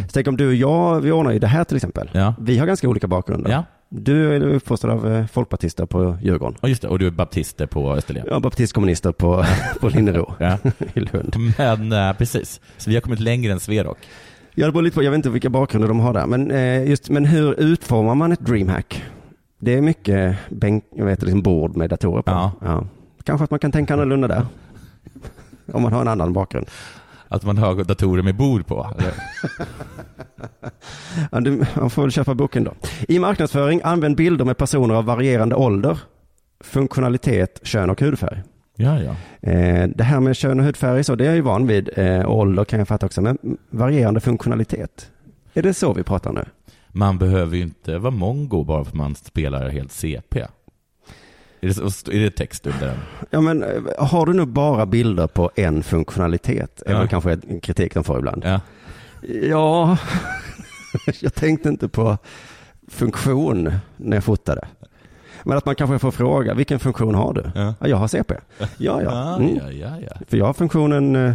Så tänk om du och jag, vi ordnar ju det här till exempel. Vi har ganska olika bakgrunder. Du är uppfostrad av eh, folkpartister på Djurgården. Ja just det, och du är baptister på Österlen. Ja, baptistkommunister på, på Linnero Ja. i Lund. Men eh, precis, så vi har kommit längre än Sverok. Ja, det beror lite på, jag vet inte vilka bakgrunder de har där, men, eh, just, men hur utformar man ett DreamHack? Det är mycket bänk, jag vet, liksom bord med datorer på. Ja. Kanske att man kan tänka annorlunda där. Om man har en annan bakgrund. Att man har datorer med bord på. eller? Ja, du, man får väl köpa boken då. I marknadsföring, använd bilder med personer av varierande ålder, funktionalitet, kön och hudfärg. Ja, ja. Eh, det här med kön och hudfärg, så det är jag ju van vid. Eh, och ålder kan jag fatta också, men varierande funktionalitet. Är det så vi pratar nu? Man behöver ju inte vara mongo bara för att man spelar helt CP. Är det, så- är det text under den? Ja, men eh, har du nu bara bilder på en funktionalitet? Är Ja. väl kanske en kritik de får ibland. Ja, jag tänkte inte på funktion när jag fotade. Men att man kanske får fråga, vilken funktion har du? Ja. jag har CP. Ja, ja. Ah, Mm. ja, ja, ja. För jag har funktionen eh,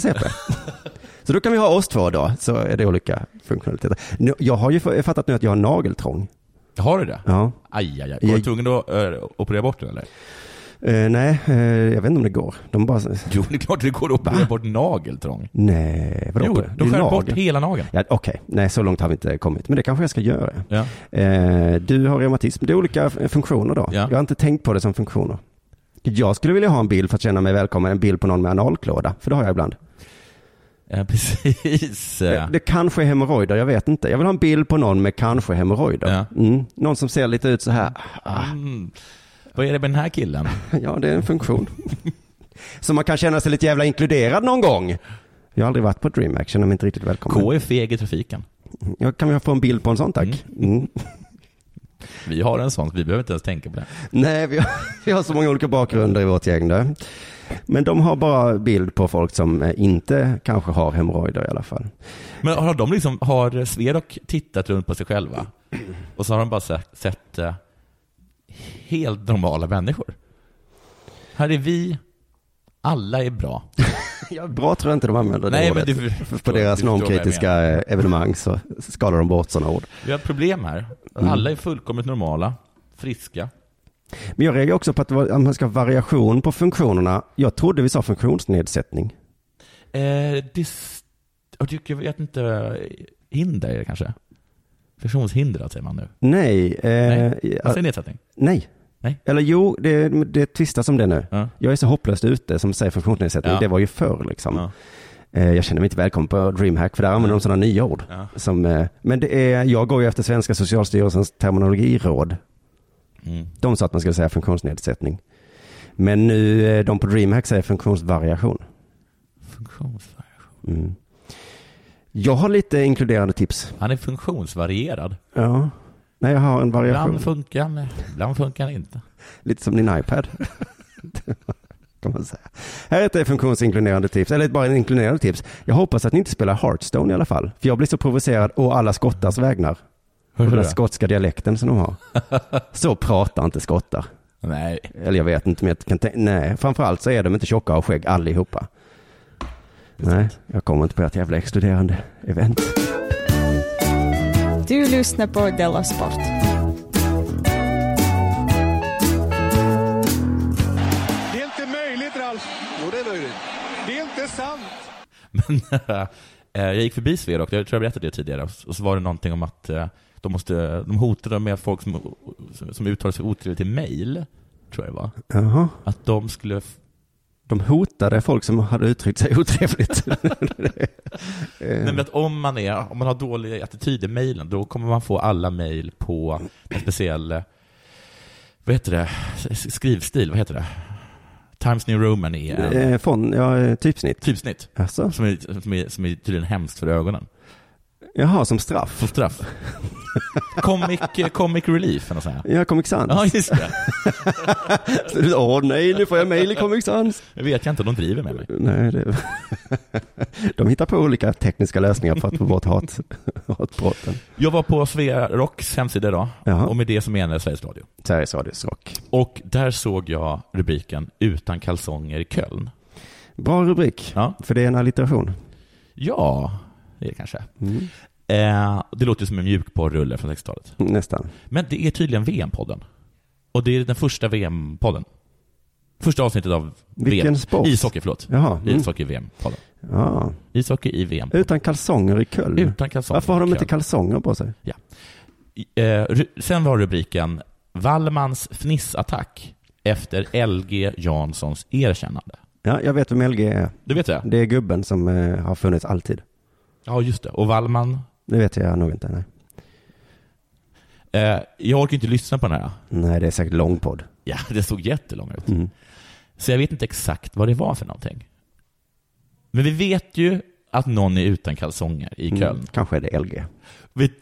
CP. Så då kan vi ha oss två då, så är det olika funktionaliteter. Nu, jag har ju f- fattat nu att jag har nageltrång. Har du det? Ja. Aj, aj, aj. Var du Jag- tvungen att eh, operera bort den eller? Eh, nej, eh, jag vet inte om det går. De bara... Jo, det är klart det går att operera bort nageltrång. Nej, vadå? Jo, Det de är skär bort nagel. hela nageln. Ja, Okej, nej så långt har vi inte kommit. Men det kanske jag ska göra. Ja. Eh, du har reumatism, det är olika f- funktioner då. Jag har inte tänkt på det som funktioner. Jag skulle vilja ha en bild för att känna mig välkommen, en bild på någon med analklåda, för det har jag ibland. Ja, precis. Det, det kanske är hemorrojder, jag vet inte. Jag vill ha en bild på någon med kanske hemorrojder. Mm. Någon som ser lite ut så här. Ah, Mm. Vad är det med den här killen? ja, det är en funktion. så man kan känna sig lite jävla inkluderad någon gång. Jag har aldrig varit på DreamHack, känner mig inte riktigt välkommen. K är feg i trafiken. Ja, kan vi få en bild på en sån tack? Mm. Vi har en sån, så vi behöver inte ens tänka på det. Nej, vi har, vi har så många olika bakgrunder i vårt gäng där. Men de har bara bild på folk som eh, inte kanske har hemorrojder i alla fall. Men har de liksom, har Sverok tittat runt på sig själva och så har de bara sett, sett eh, helt normala människor? Här är vi, alla är bra. Ja, bra tror jag inte de använder det Nej, men ordet. du För förstår- på du deras förstår vad jag normkritiska eh, evenemang så skalar de bort sådana ord. Vi har ett problem här. Mm. Alla är fullkomligt normala, friska. Men jag reagerar också på att det var- att man ska ha variation på funktionerna. Jag trodde vi sa funktionsnedsättning. Eh, dis, jag tycker- jag vet inte, eh, hinder kanske? Funktionshindrad säger man nu. Nej. Eh, Nej, ja, vad säger nedsättning? nej. Nej. Eller jo, det, det tvistas om det nu. Ja. Jag är så hopplöst ute som säger funktionsnedsättning. Ja. Det var ju förr liksom. Eh, Jag känner mig inte välkommen på DreamHack för där använder de sådana nya ord. Ja. Som, eh, men det är, jag går ju efter svenska socialstyrelsens terminologiråd. Mm. De sa att man skulle säga funktionsnedsättning. Men nu, eh, de på DreamHack säger funktionsvariation. Funktionsvariation. Mm. Jag har lite inkluderande tips. Han är funktionsvarierad. Ja. Nej, jag har en variation. Ibland funkar han, ibland funkar han inte. Lite som din iPad. kan man säga. Här är ett eh, funktionsinkluderande tips, eller bara en inkluderande tips. Jag hoppas att ni inte spelar Hearthstone i alla fall. För jag blir så provocerad å alla skottars vägnar. Hur Och den är där det? skotska dialekten som de har. Så pratar inte skottar. Nej. Eller jag vet inte, men jag kan tänka, nej, framförallt så är de inte tjocka och skägg allihopa. Nej, jag kommer inte på ett jävla exkluderande event. Du lyssnar på Della Sport. Det är inte möjligt, Ralf. Jo, det är möjligt. Det är inte sant. Men eh, jag gick förbi Sverok, jag tror jag berättade det tidigare, och så var det någonting om att eh, de, måste, de hotade med folk som, som uttalar sig otrevligt i mejl, tror jag det var. Jaha. Att de skulle... f- De hotade folk som hade uttryckt sig otrevligt. Eh. Nej, men att om man, är, om man har dålig attityd i mejlen, då kommer man få alla mejl på en speciell... eh, Vad heter det? S- Skrivstil, vad heter det? Times New Roman är en Eh, Fon, ja, eh, typsnitt. typsnitt Alltså? som är, som, är, som är tydligen hemskt för ögonen. Jaha, som straff? Som straff. Comic, eh, comic relief, eller säga. Ja, Comic Sans. Ja, just det. Så du, Åh nej, nu får jag mail i Comic Sans. Det vet jag inte, de driver med mig. Nej, det... de hittar på olika tekniska lösningar för att få bort hat, hatbrotten. Jag var på Svea Rocks hemsida idag Jaha. och med det så menar jag Sveriges Radio. Sveriges Radios rock. Och där såg jag rubriken “Utan kalsonger i Köln”. Bra rubrik, för det är en allitteration. Ja, det är det kanske. Mm. Eh, det låter ju som en mjukporrrulle från 60-talet. Nästan. Men det är tydligen VM-podden. Och det är den första VM-podden. Första avsnittet av Vilken VM. sport? Ishockey, förlåt. Jaha, mm. Ishockey i VM-podden. Ja. Ishockey i VM. Utan kalsonger i Köln. Utan kalsonger Varför har de i inte Köln. kalsonger på sig? Ja. Eh, ru- sen var rubriken Wallmans fnissattack efter LG Janssons erkännande. Ja, jag vet vem LG är. Du vet det? Det är gubben som eh, har funnits alltid. Ja, just det. Och Wallman, Det vet jag nog inte. Nej, eh, jag orkar inte lyssna på den här. nej det är säkert lång podd. Ja, det såg jättelång ut. Mm. Så jag vet inte exakt vad det var för någonting. Men vi vet ju att någon är utan kalsonger i Köln. Mm, kanske är det LG. Vi,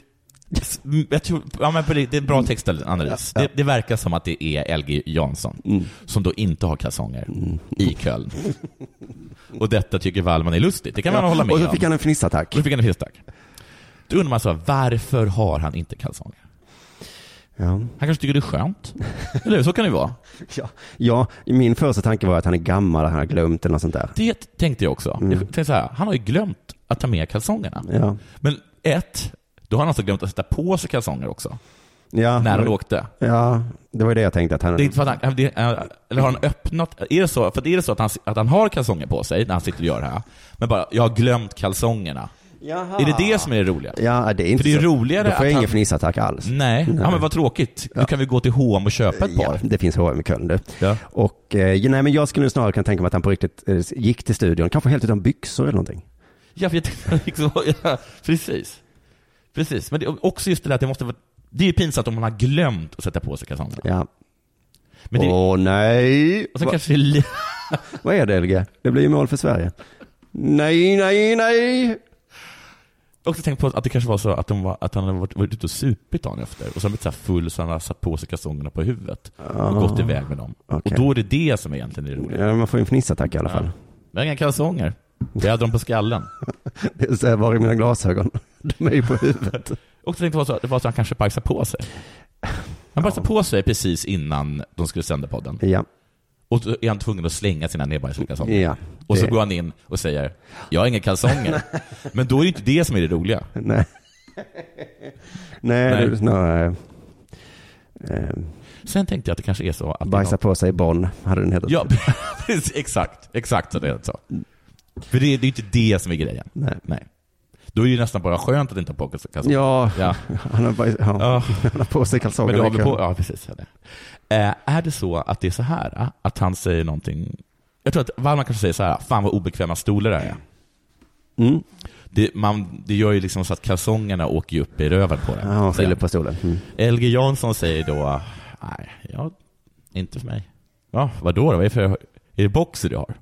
jag tror, ja, men på det, det är en bra textanalys. Det, det verkar som att det är LG Jansson, Mm. som då inte har kalsonger i Köln. Och detta tycker Wallman är lustigt. Det kan man Ja, hålla med och om. Mm. då fick han en Och fnissattack. då fick han en fylleattack. Då undrar man så här, varför har han inte kalsonger? Ja. Han kanske tycker det är skönt. Eller hur? Så kan det vara. Ja, ja, min första tanke var att han är gammal, han har glömt eller något sånt där. Det tänkte jag också. Jag tänkte så här, han har ju glömt att ta med kalsongerna. Mm. Ja. Men ett, då har han alltså glömt att sätta på sig kalsonger också, Ja, när han åkte. Ja, det var ju det jag tänkte att han... Det är inte för att han, det, är- eh, eller har han öppnat, är det så, för det är det så att han, att han har kalsonger på sig när han sitter och gör det här, men bara, jag har glömt kalsongerna. Jaha. Är det det som är det roliga? Ja, det är inte För det är så. roligare Då får jag att ingen han- fnissattack alls. Nej. ja men vad tråkigt. Nu kan vi gå till H&M och köpa ett Ja, par. det finns H&M i Köln du. Ja. Och, eh, ja, nej men jag skulle nog snarare kunna tänka mig att han på riktigt eh, gick till studion, kanske helt utan byxor eller någonting. Ja, för jag tänkte liksom, ja, precis. Precis, men det, också just det där att det måste vara, det är ju pinsamt om man har glömt att sätta på sig kalsongerna. Ja. Men det, Åh nej! och sen Va- kanske det är li- Vad är det LG? Det blir ju mål för Sverige. Nej, nej, nej! också tänkt på att det kanske var så att, de var, att han hade varit, varit ute och supit dagen efter och så har han blivit så här full så han har satt på sig kalsongerna på huvudet och gått iväg med dem. Ah, okej. Och då är det det som egentligen är roligt. Ja, man får ju en fnissattack i alla fall. Jag har inga kalsonger. Jag hade dem på skallen. Det är så här, var är mina glasögon? De är ju på huvudet. Och så tänkte jag så, det var så att han kanske bajsade på sig. Han bajsade på sig precis innan de skulle sända podden. Ja, Och så är han tvungen att slänga sina nedbajsade kalsonger. ja. Och så Det- går han in och säger, jag har inga kalsonger. Men då är det inte det som är det roliga. Nej. Nej, Nej. du snarare eh, Sen tänkte jag att det kanske är så att... det är bajsa någon- på sig Bonn, hade den hetat. Ja, precis, exakt. Exakt så det är så. För det, är- det är inte det som är grejen. Nej. Då är det ju nästan bara skönt att inte ha på sig kalsonger. Ja, Ja. Han, har bajs, ja. Ja. han har på sig Men kalsonger. då har vi verkligen. på, ja, precis. ja, det. Eh, är det så att det är så här, eh, att han säger någonting... Jag tror att Wallman kanske säger så här, fan vad obekväma stolar det här är. Mm. Det, man, det gör ju liksom så att kalsongerna åker ju upp i röven på den. Ja, han skyller på stolen. Mm. LG Jansson säger då, nej, ja, inte för mig. Ja, vadå då? Vad är, det för, är det boxer du har?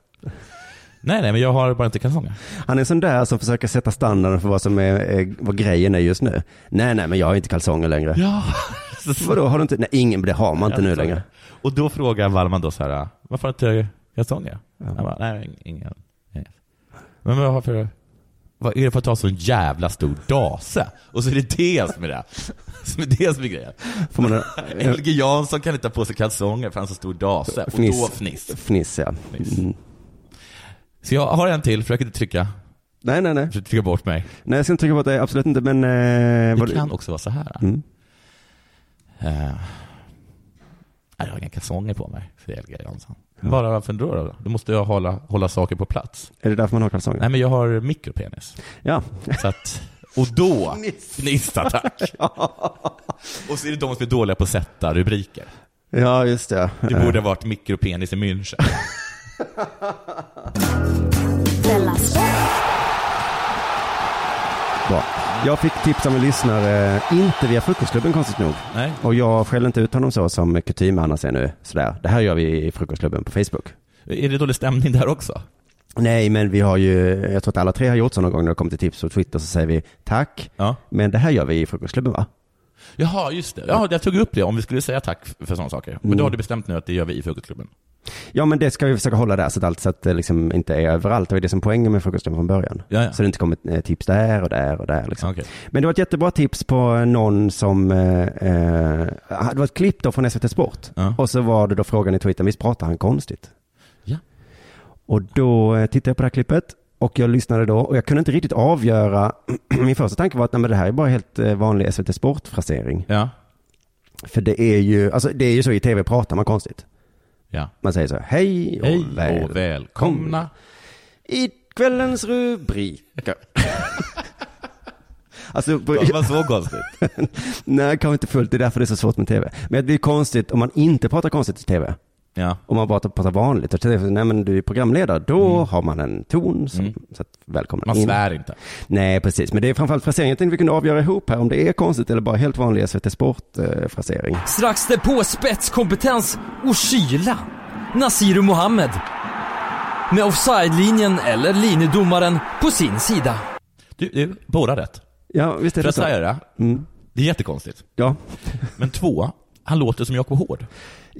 nej, nej, men jag har bara inte kalsonger. Han är en sån där som försöker sätta standarden för vad som är, är vad grejen är just nu. Nej, nej, men jag har inte kalsonger längre. Ja. Vadå, har du inte? Nej, ingen, det har man inte nu längre. Och då frågar Wallman då så här, varför har du inte kalsonger? Han bara, nej, ingen. ingen. Men vad har för... Vad är det för att ta så en jävla stor dase? Och så är det det som är det. Som är det som är grejen. Får man en LG Jansson kan inte ha på sig kalsonger för han har så stor dase. Och då fniss. Fniss, ja. Fniss. Mm. Så jag har en till, försök inte trycka. Nej, nej, nej. Försök trycka bort mig. Nej, jag ska inte trycka på det, absolut inte, men... Eh, Det vad- kan också vara så här. Mm. Eh, jag har inga kalsonger på mig, säger LG Jansson. Bara varför då? då? Då måste jag hålla, hålla saker på plats. Är det därför man har kalsonger? Nej, men jag har mikropenis. Ja. Så att, och då, fnissattack. och så är det de som är dåliga på att sätta rubriker. ja, just det. Det borde ha varit mikropenis i München. Della Sport. Bra. Jag fick tips av en lyssnare, eh, inte via Frukostklubben konstigt nog. Nej. Och jag skäller inte ut honom så som kutym annars är nu. Sådär. Det här gör vi i Frukostklubben på Facebook. Är det dålig stämning där också? Nej, men vi har ju, jag tror att alla tre har gjort så någon gång när det kommer till tips på Twitter så säger vi tack, men det här gör vi i Frukostklubben va? Jaha, just det. Ja, jag tog upp det, om vi skulle säga tack för sådana saker. Men Mm. då har du bestämt nu att det gör vi i Frukostklubben. Ja, men det ska vi försöka hålla där så att allt så att det liksom inte är överallt. Det var ju det som poängen med Frukostklubben från början. Ja, ja. Så det inte kommer eh, tips där och där och där. Liksom. Men det var ett jättebra tips på någon som, eh, eh, det var ett klipp då från SVT Sport. Och så var det då frågan i Twitter, visst pratar han konstigt? Ja. Och då eh, tittade jag på det här klippet och jag lyssnade då och jag kunde inte riktigt avgöra. Min första tanke var att nej, men det här är bara helt eh, vanlig SVT Sport-frasering. Ja. För det är ju, alltså det är ju så i tv pratar man konstigt. Ja. Man säger så här, hej och, Hej väl. och välkomna. I kvällens rubriker. alltså, på, Det var så konstigt. nej, kanske inte fullt. Det är därför det är så svårt med tv. Men det är konstigt om man inte pratar konstigt i tv. Ja. Om man bara pratar vanligt. Och säger, nej men du är programledare, då har man en ton som, Mm. så att, välkomna Man in. svär inte. Nej, precis. Men det är framförallt fraseringen. Jag tänkte vi kunde avgöra ihop här om det är konstigt eller bara helt vanlig SVT Sport-frasering. Strax därpå spetskompetens och kyla. Nasiru Mohammed. Med offside-linjen eller linjedomaren på sin sida. Du, du båda rätt. Ja, visst är För det att så. säga det, det är jättekonstigt. Ja. Men två, han låter som Jakob Hård.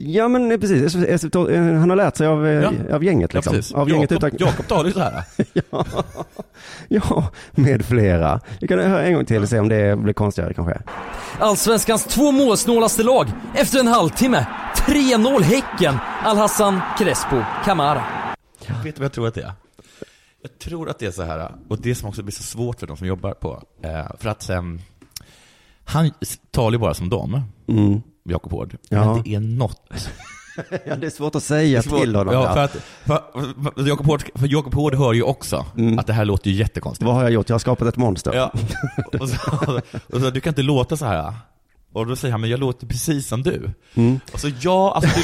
Ja men eh, precis, SVT eh, han har lärt sig av, eh, av gänget liksom. Ja, precis. av gänget Jakob, utan... Jakob talar ju så här. ja, med flera. Vi kan höra en gång till och se om det blir konstigare kanske. Allsvenskans två målsnålaste lag efter en halvtimme. 3-0 Häcken, Al-Hassan Crespo Camara. Vet du vad jag tror att det är? Jag tror att det är så här, och det som också blir så svårt för de som jobbar på, eh, för att eh, han s- talar ju bara som dem, Mm. Jakob Hård. Ja. Men det är något. ja, det är svårt att säga till honom. Ja, där. för att för, för Jakob Hård, för Jakob Hård hör ju också att det här låter ju jättekonstigt. Vad har jag gjort? Jag har skapat ett monster. Ja. Och så, och så, du kan inte låta så här. Och då säger han, men jag låter precis som du. Mm. Och så ja, alltså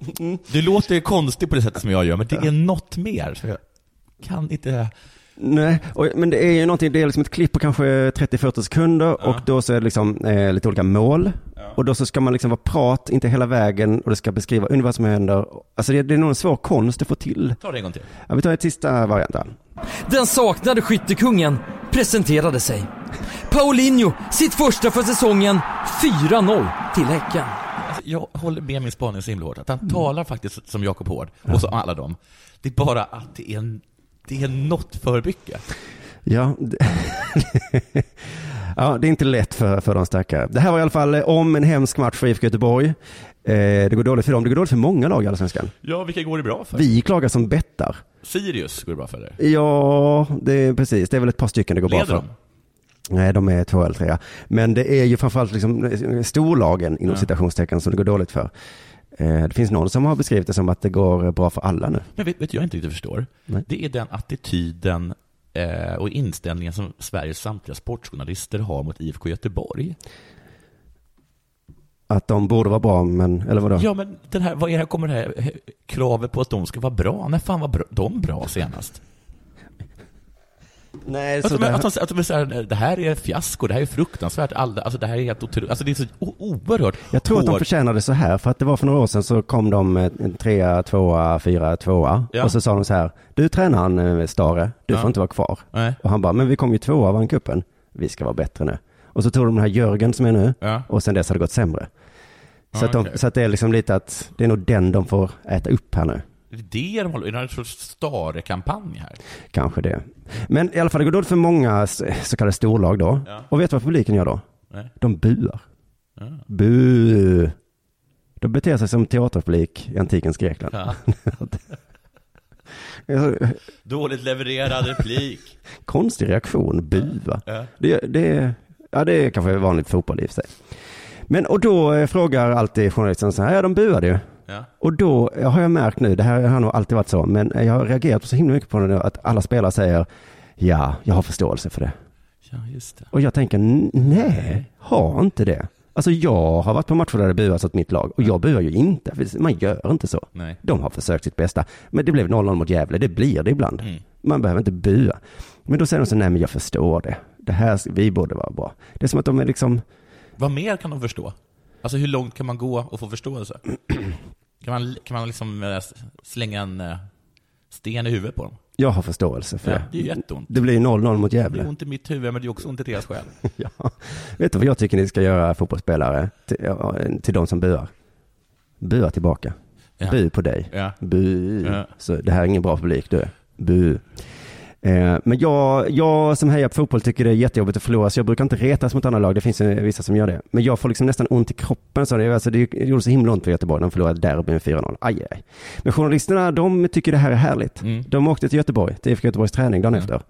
du, du låter ju konstig på det sättet som jag gör, men det är något mer. Så jag kan inte... Nej, och, men det är ju någonting, det är liksom ett klipp på kanske 30-40 sekunder och då så är det liksom eh, lite olika mål. Och då så ska man liksom vara prat, inte hela vägen och det ska beskriva ungefär vad som händer. Alltså det, det är nog en svår konst att få till. Ta det en gång till. Ja, vi tar ett sista variant där. Den saknade skyttekungen presenterade sig. Paulinho, sitt första för säsongen, 4-0 till Häcken. Alltså, Jag håller med min spaning så himla hårt, att han Mm. talar faktiskt som Jakob Hård, och så alla dem. Det är bara att det är, en, det är något för mycket. Ja, det, ja, det är inte lätt för, för de stackare. Det här var i alla fall eh, om en hemsk match för IFK Göteborg. Eh, det går dåligt för dem. Det går dåligt för många lag i Allsvenskan. Ja, vilka går det bra för? Vi klagar som bettar. Sirius går det bra för dig. Ja, det är precis. Det är väl ett par stycken det går bra Leder för. de? Nej, de är två eller trea. Men det är ju framförallt liksom storlagen inom Ja. citationstecken som det går dåligt för. Eh, Det finns någon som har beskrivit det som att det går bra för alla nu. Men vet, vet du, jag inte riktigt förstår? Det är den attityden eh, och inställningen som Sveriges samtliga sportjournalister har mot IFK Göteborg. Att de borde vara bra, men, eller vadå? Ja, men den här, vad är det här, kommer det här eh, kravet på att de ska vara bra? När fan var bra, de bra senast? Nej, Att, så de- det- att, de- att de är så här, det här är fiasko, det här är fruktansvärt, all, alltså det här är helt otroligt, alltså det är så o- oerhört Jag tror att de hård- förtjänade så här, för att det var för några år sedan så kom de eh, en trea, tvåa, fyra, tvåa. Ja. Och så sa de så här, du tränaren eh, Stare, du Ja. får inte vara kvar. Nej. Och han bara, men vi kom ju tvåa, vann cupen. Vi ska vara bättre nu. Och så tog de den här Jörgen som är nu, Ja. och sen dess har det gått sämre. Så, Ja, att de, okej. så att det är liksom lite att, det är nog den de får äta upp här nu. Är det det de håller, är det någon sorts stare-kampanj här? Kanske det. Men i alla fall, det går dåligt för många s- så kallade storlag då. Ja. Och vet du vad publiken gör då? Nej. De buar. Ja. Bu! De beter sig som teaterpublik i antikens Grekland. Ja. Alltså, Dåligt levererad replik. Konstig reaktion, bua. Ja. Det, det, ja, det är kanske vanligt fotboll i och för sig. Men och då eh, frågar alltid journalisten så här, ja de buade ju. Ja. Och då eh, har jag märkt nu, det här har nog alltid varit så, men eh, jag har reagerat så himla mycket på det nu, att alla spelare säger ja, jag har förståelse för det. ja, just det. Och jag tänker, "N- nej, ha inte det. Alltså jag har varit på matcher där det buas åt mitt lag och jag buar ju inte, för man gör inte så. Nej. De har försökt sitt bästa, men det blev 0-0 mot Gävle, det blir det ibland. Mm. Man behöver inte bua. Men då säger de så, nej men jag förstår det. Det här, vi borde vara bra. Det är som att de är liksom, Vad mer kan de förstå? Alltså hur långt kan man gå och få förståelse? Kan man, kan man liksom eh, s- slänga en eh, sten i huvudet på dem. Jag har förståelse för Ja, det. det är ju jätteont. Det blir ju 0-0 mot Det är Gävle. ont i mitt huvud, men det är också ont i deras själ. Ja. Vet du vad jag tycker ni ska göra fotbollsspelare till, ja, till de som buar? Bua tillbaka. Ja. Bu på dig. Ja. Bu. Ja. Så det här är ingen bra publik du. Bu. Eh, Men jag, jag som hejar på fotboll tycker det är jättejobbigt att förlora, så jag brukar inte retas mot andra lag. Det finns ju vissa som gör det. Men jag får liksom nästan ont i kroppen. Så det, alltså, det gjorde så himla ont för Göteborg. De förlorade derby med 4-0. Aj, aj. Men journalisterna, de tycker det här är härligt. Mm. De åkte till Göteborg, till IFK Göteborgs träning dagen efter. Och,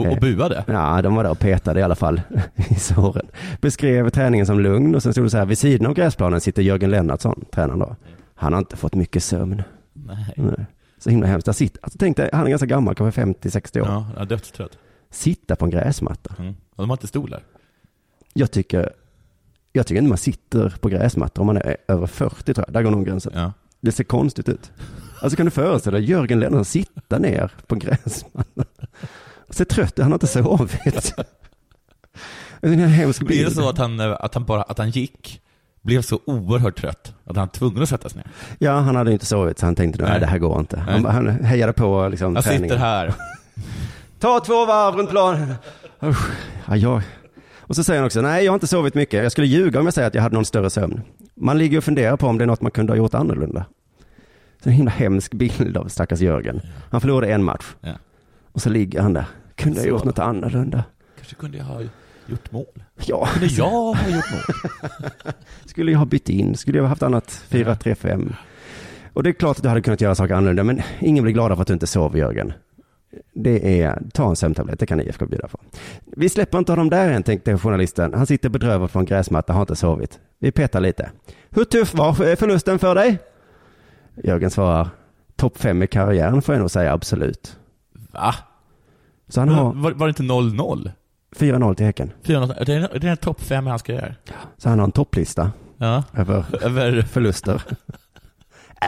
och Eh, buade. Ja, de var där och petade i alla fall i såren. Beskrev träningen som lugn och sen stod det så här, vid sidan av gräsplanen sitter Jörgen Lennartsson, tränaren då. Han har inte fått mycket sömn. Nej. Nej. Så himla hemskt. Där sitter, alltså, tänk dig, han är ganska gammal, kanske 50-60 år. Ja, jag är dödstrött. Sitta på en gräsmatta. Mm. Och de har inte stolar. Jag tycker, jag tycker inte man sitter på gräsmattor om man är över 40 tror jag. Där går nog gränsen. Mm. Det ser konstigt ut. Alltså kan du föreställa dig Jörgen Lennartsson sitta ner på en gräsmatta. Ser trött ut, han har inte sovit. Det är en hemsk Blir det bild. så att han, eh, att han, bara, att han gick, blev så oerhört trött att han var tvungen att sätta sig ner? Ja, han hade inte sovit så han tänkte nej, Nej. det här går inte. Han, Nej. han hejade på liksom, Jag träningen. sitter här. Ta två varv runt planen. Usch, ja, jag... Och så säger han också, nej jag har inte sovit mycket. Jag skulle ljuga om jag säger att jag hade någon större sömn. Man ligger och funderar på om det är något man kunde ha gjort annorlunda. Så en himla hemsk bild av stackars Jörgen. Han förlorade en match. Ja. Och så ligger han där. Kunde jag ha gjort något annorlunda? Kanske kunde jag ha gjort mål. Ja. Kunde jag ha gjort mål? Skulle jag ha bytt in? Skulle jag ha haft annat 4-3-5? Och det är klart att du hade kunnat göra saker annorlunda, men ingen blir glada för att du inte sov, Jörgen. Det är, ta en sömntablett, det kan IFK bjuda på. Vi släpper inte honom där än, tänkte journalisten. Han sitter bedrövad på en gräsmatta, har inte sovit. Vi petar lite. Hur tuff var förlusten för dig? Jörgen svarar, topp fem i karriären får jag nog säga, absolut. Va? Så han har Var, var det inte 0-0? 4-0 till Häcken. 400 Det är det är en topp fem i hans karriär. Så han har en topplista Ja. över Över... förluster.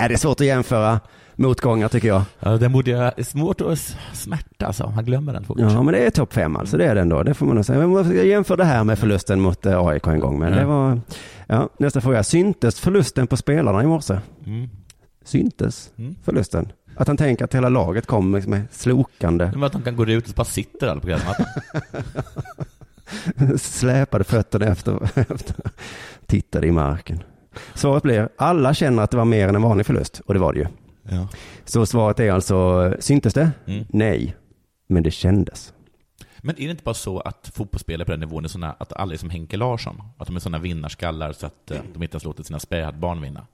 Äh, det är svårt att jämföra motgångar tycker jag. Ja, den borde jag... Svårt att s- smärta alltså, om han glömmer den fort. Ja, men det är topp fem alltså, det är den då. Det får man nog säga. Men man ska jämföra det här med förlusten mot eh, AIK en gång. Men Ja. det var, ja, nästa fråga. Syntes förlusten på spelarna i morse? Mm. Syntes förlusten? Att han tänker att hela laget kom liksom med slokande, Men att de kan gå ut och bara sitter alla på gräsmattan. släpade fötterna efter, efter, tittade i marken. Svaret blir, alla känner att det var mer än en vanlig förlust, och det var det ju. Ja. Så svaret är alltså, syntes det? Mm. Nej, men det kändes. Men är det inte bara så att fotbollsspelare på den nivån är såna, att alla är som Henke Larsson? Att de är sådana vinnarskallar så att eh, de inte ens låter sina spädbarn vinna?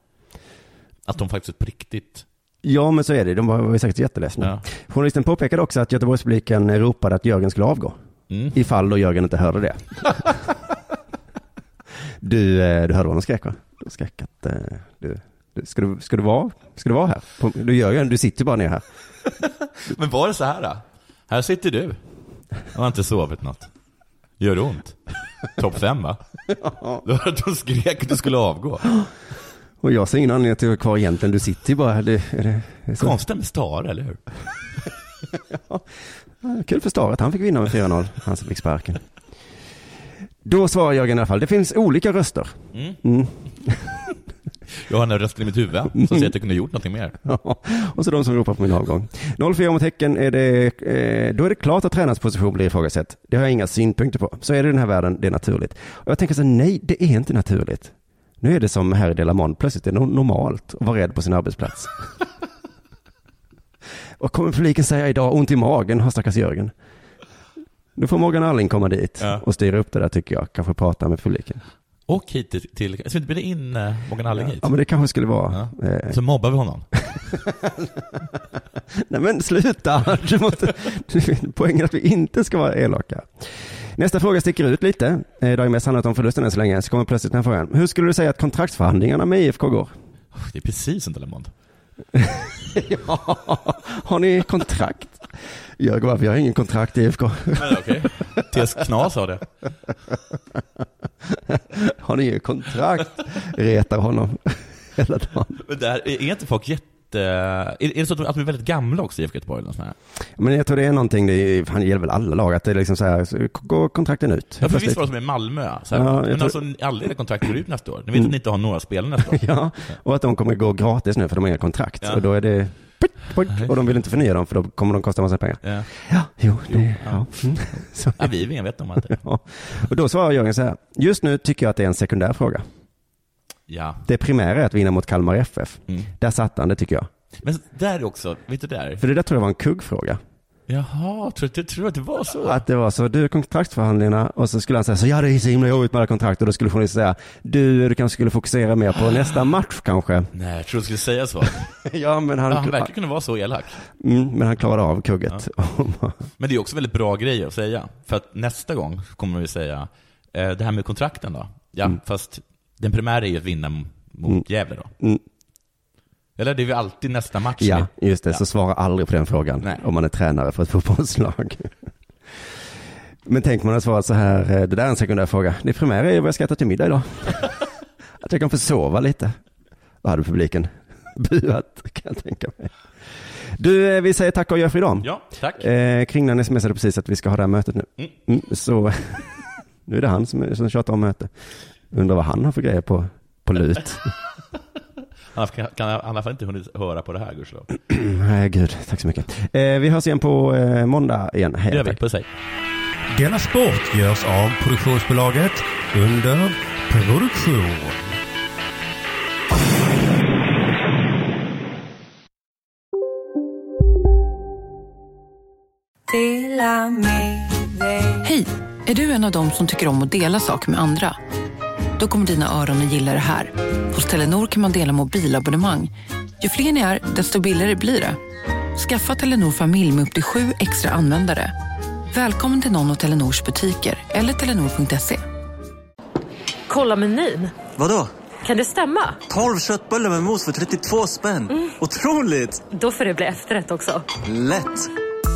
Att de faktiskt på riktigt... Ja, men så är det. De var, var ju säkert jätteledsna. Ja. Journalisten påpekade också att Göteborgspubliken ropade att Jörgen skulle avgå. Mm. Ifall då Jörgen inte hörde det. du, eh, du hörde vad de skrek va? De skrek att eh, du, du, ska, du, ska, du vara, ska du vara här? På, du Jörgen, du sitter ju bara ner här. Men var det så här då? Här sitter du. Jag har inte sovit något. Gör det ont? Topp fem va? Du hörde att de skrek att du skulle avgå. Och jag ser ingen anledning till att vara kvar egentligen. Du sitter ju bara här. Det, är det, är det så? Konstigt med Stare, eller hur? Kul för Stare att han fick vinna med 4-0, han som fick sparken. Då svarar Jörgen i alla fall, det finns olika röster. Mm. Mm. Jag har den här rösten i mitt huvud som säger att jag kunde gjort någonting mer. Ja, och så de som ropar på min avgång. 04 mot Häcken, är det, eh, då är det klart att tränarens position blir ifrågasatt. Det har jag inga synpunkter på. Så är det i den här världen, det är naturligt. Och jag tänker så här, nej, det är inte naturligt. Nu är det som här i Delamon, plötsligt är det no- normalt att vara rädd på sin arbetsplats. Vad kommer publiken säga idag? Ont i magen, har stackars Jörgen. Nu får Morgan Alling komma dit Ja. och styra upp det där tycker jag. Kanske prata med publiken. Och hit till... till jag ska inte bjuda in eh, Morgan Alling hit. Ja, men det kanske skulle vara. eh, Så mobbar vi honom. Nej men sluta! Du måste, du- poängen är att vi inte ska vara elaka. Nästa fråga sticker ut lite. Eh, Det har ju mest handlat om förlusten än så länge. Så kommer plötsligt den här frågan. Hur skulle du säga att kontraktsförhandlingarna med IFK går? Det är precis som Delamond. ja, har ni kontrakt? Jörgen, varför? Jag har ingen kontrakt i IFK. Men okej. T.S. Knas sa det. har ni ingen kontrakt? Retar honom hela dagen. Men där, är är inte folk jätte... Är, är det så att de, att de är väldigt gamla också i IFK Göteborg? Eller något sånt här? Men jag tror det är någonting, det, är, fan, det gäller väl alla lag, att det är liksom så här, så går kontrakten ut? Ja, för Plötsligt. visst var det som i Malmö? Så här, Ja, jag men tror- Mm. alltså, alla era kontrakt går ut nästa år. Ni vet att ni inte har några spelare nästa år. Ja, och att de kommer gå gratis nu för de har inga kontrakt. Ja. Och då är det Boink, Och de vill inte förnya dem för då kommer de kosta en massa pengar. Ja. Ja, jo, det, ja. Mm. Så- Ja, vi är medvetna om allt det. Ja. Och då svarar Jörgen så här. Just nu tycker jag att det är en sekundär fråga. Ja. mm. Det primära är att vinna mot Kalmar FF. Där satt han, det tycker jag. Men där också, vet du där? För det där tror jag var en kuggfråga. Jaha, tror du tror du att det var så? Att det var så, du kontraktsförhandlingarna och så skulle han säga så, ja det är så himla jobbigt med alla kontrakt och då skulle journalisten säga, du, du kanske skulle fokusera mer på nästa match kanske. Nej, jag tror du skulle säga så. ja, men han- han verkar kunna vara så elak. Mm, men han klarade av kugget. Men det är också väldigt bra grej att säga. För att nästa gång kommer vi säga, eh, det här med kontrakten då. Ja, fast den primära är ju att vinna m- mot Gävle då. Mm. Mm. Eller det är ju alltid nästa match. ja, just det, Ja. så svara aldrig på den frågan om man är tränare för ett fotbollslag. men tänk man har svarat så här, eh, det där är en sekundär fråga, det primära är vad jag ska äta till middag idag. att jag kan få sova lite. Då hade publiken buat, kan jag tänka mig. Du, eh, vi säger tack och gör för idag. Ja, tack. Eh, Kringlan smsade precis att vi ska ha det här mötet nu. Mm. Mm, så nu är det han som, som tjatar om möte. Undrar vad han har för grejer på, på lut. Annars kan, kan han i alla fall inte hunnit höra på det här gudskelov. Eh, Nej, Mm, gud. Tack så mycket. Eh, vi hörs igen på eh, måndag igen. Hej. Det gör vi. tack. Puss hej. Denna sport görs av produktionsbolaget under produktion. Hej! Är du en av dem som tycker om att dela saker med andra? Då kommer dina öron att gilla det här. Hos Telenor kan man dela mobilabonnemang. Ju fler ni är, desto billigare blir det. Skaffa Telenor familj med upp till sju extra användare. Välkommen till någon av Telenors butiker eller telenor.se. Kolla menyn. Vadå? Kan det stämma? 12 köttbullar med mos för 32 spänn. Mm. Otroligt! Då får det bli efterrätt också. Lätt!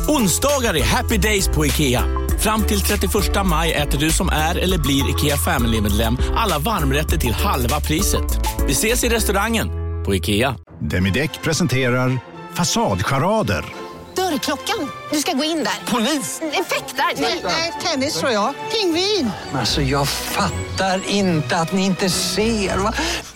Onsdagar är happy days på IKEA. Fram till 31 maj äter du som är eller blir IKEA Family-medlem alla varmrätter till halva priset. Vi ses i restaurangen på IKEA. Demideck presenterar Fasadcharader. Dörrklockan. Du ska gå in där. Polis? Effektar? Nej, tennis tror jag. Pingvin. Alltså jag fattar inte att ni inte ser. Va?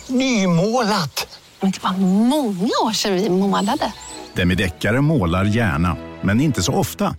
Nymålat! Men det var många år sedan vi målade. Demideckare målar gärna, men inte så ofta.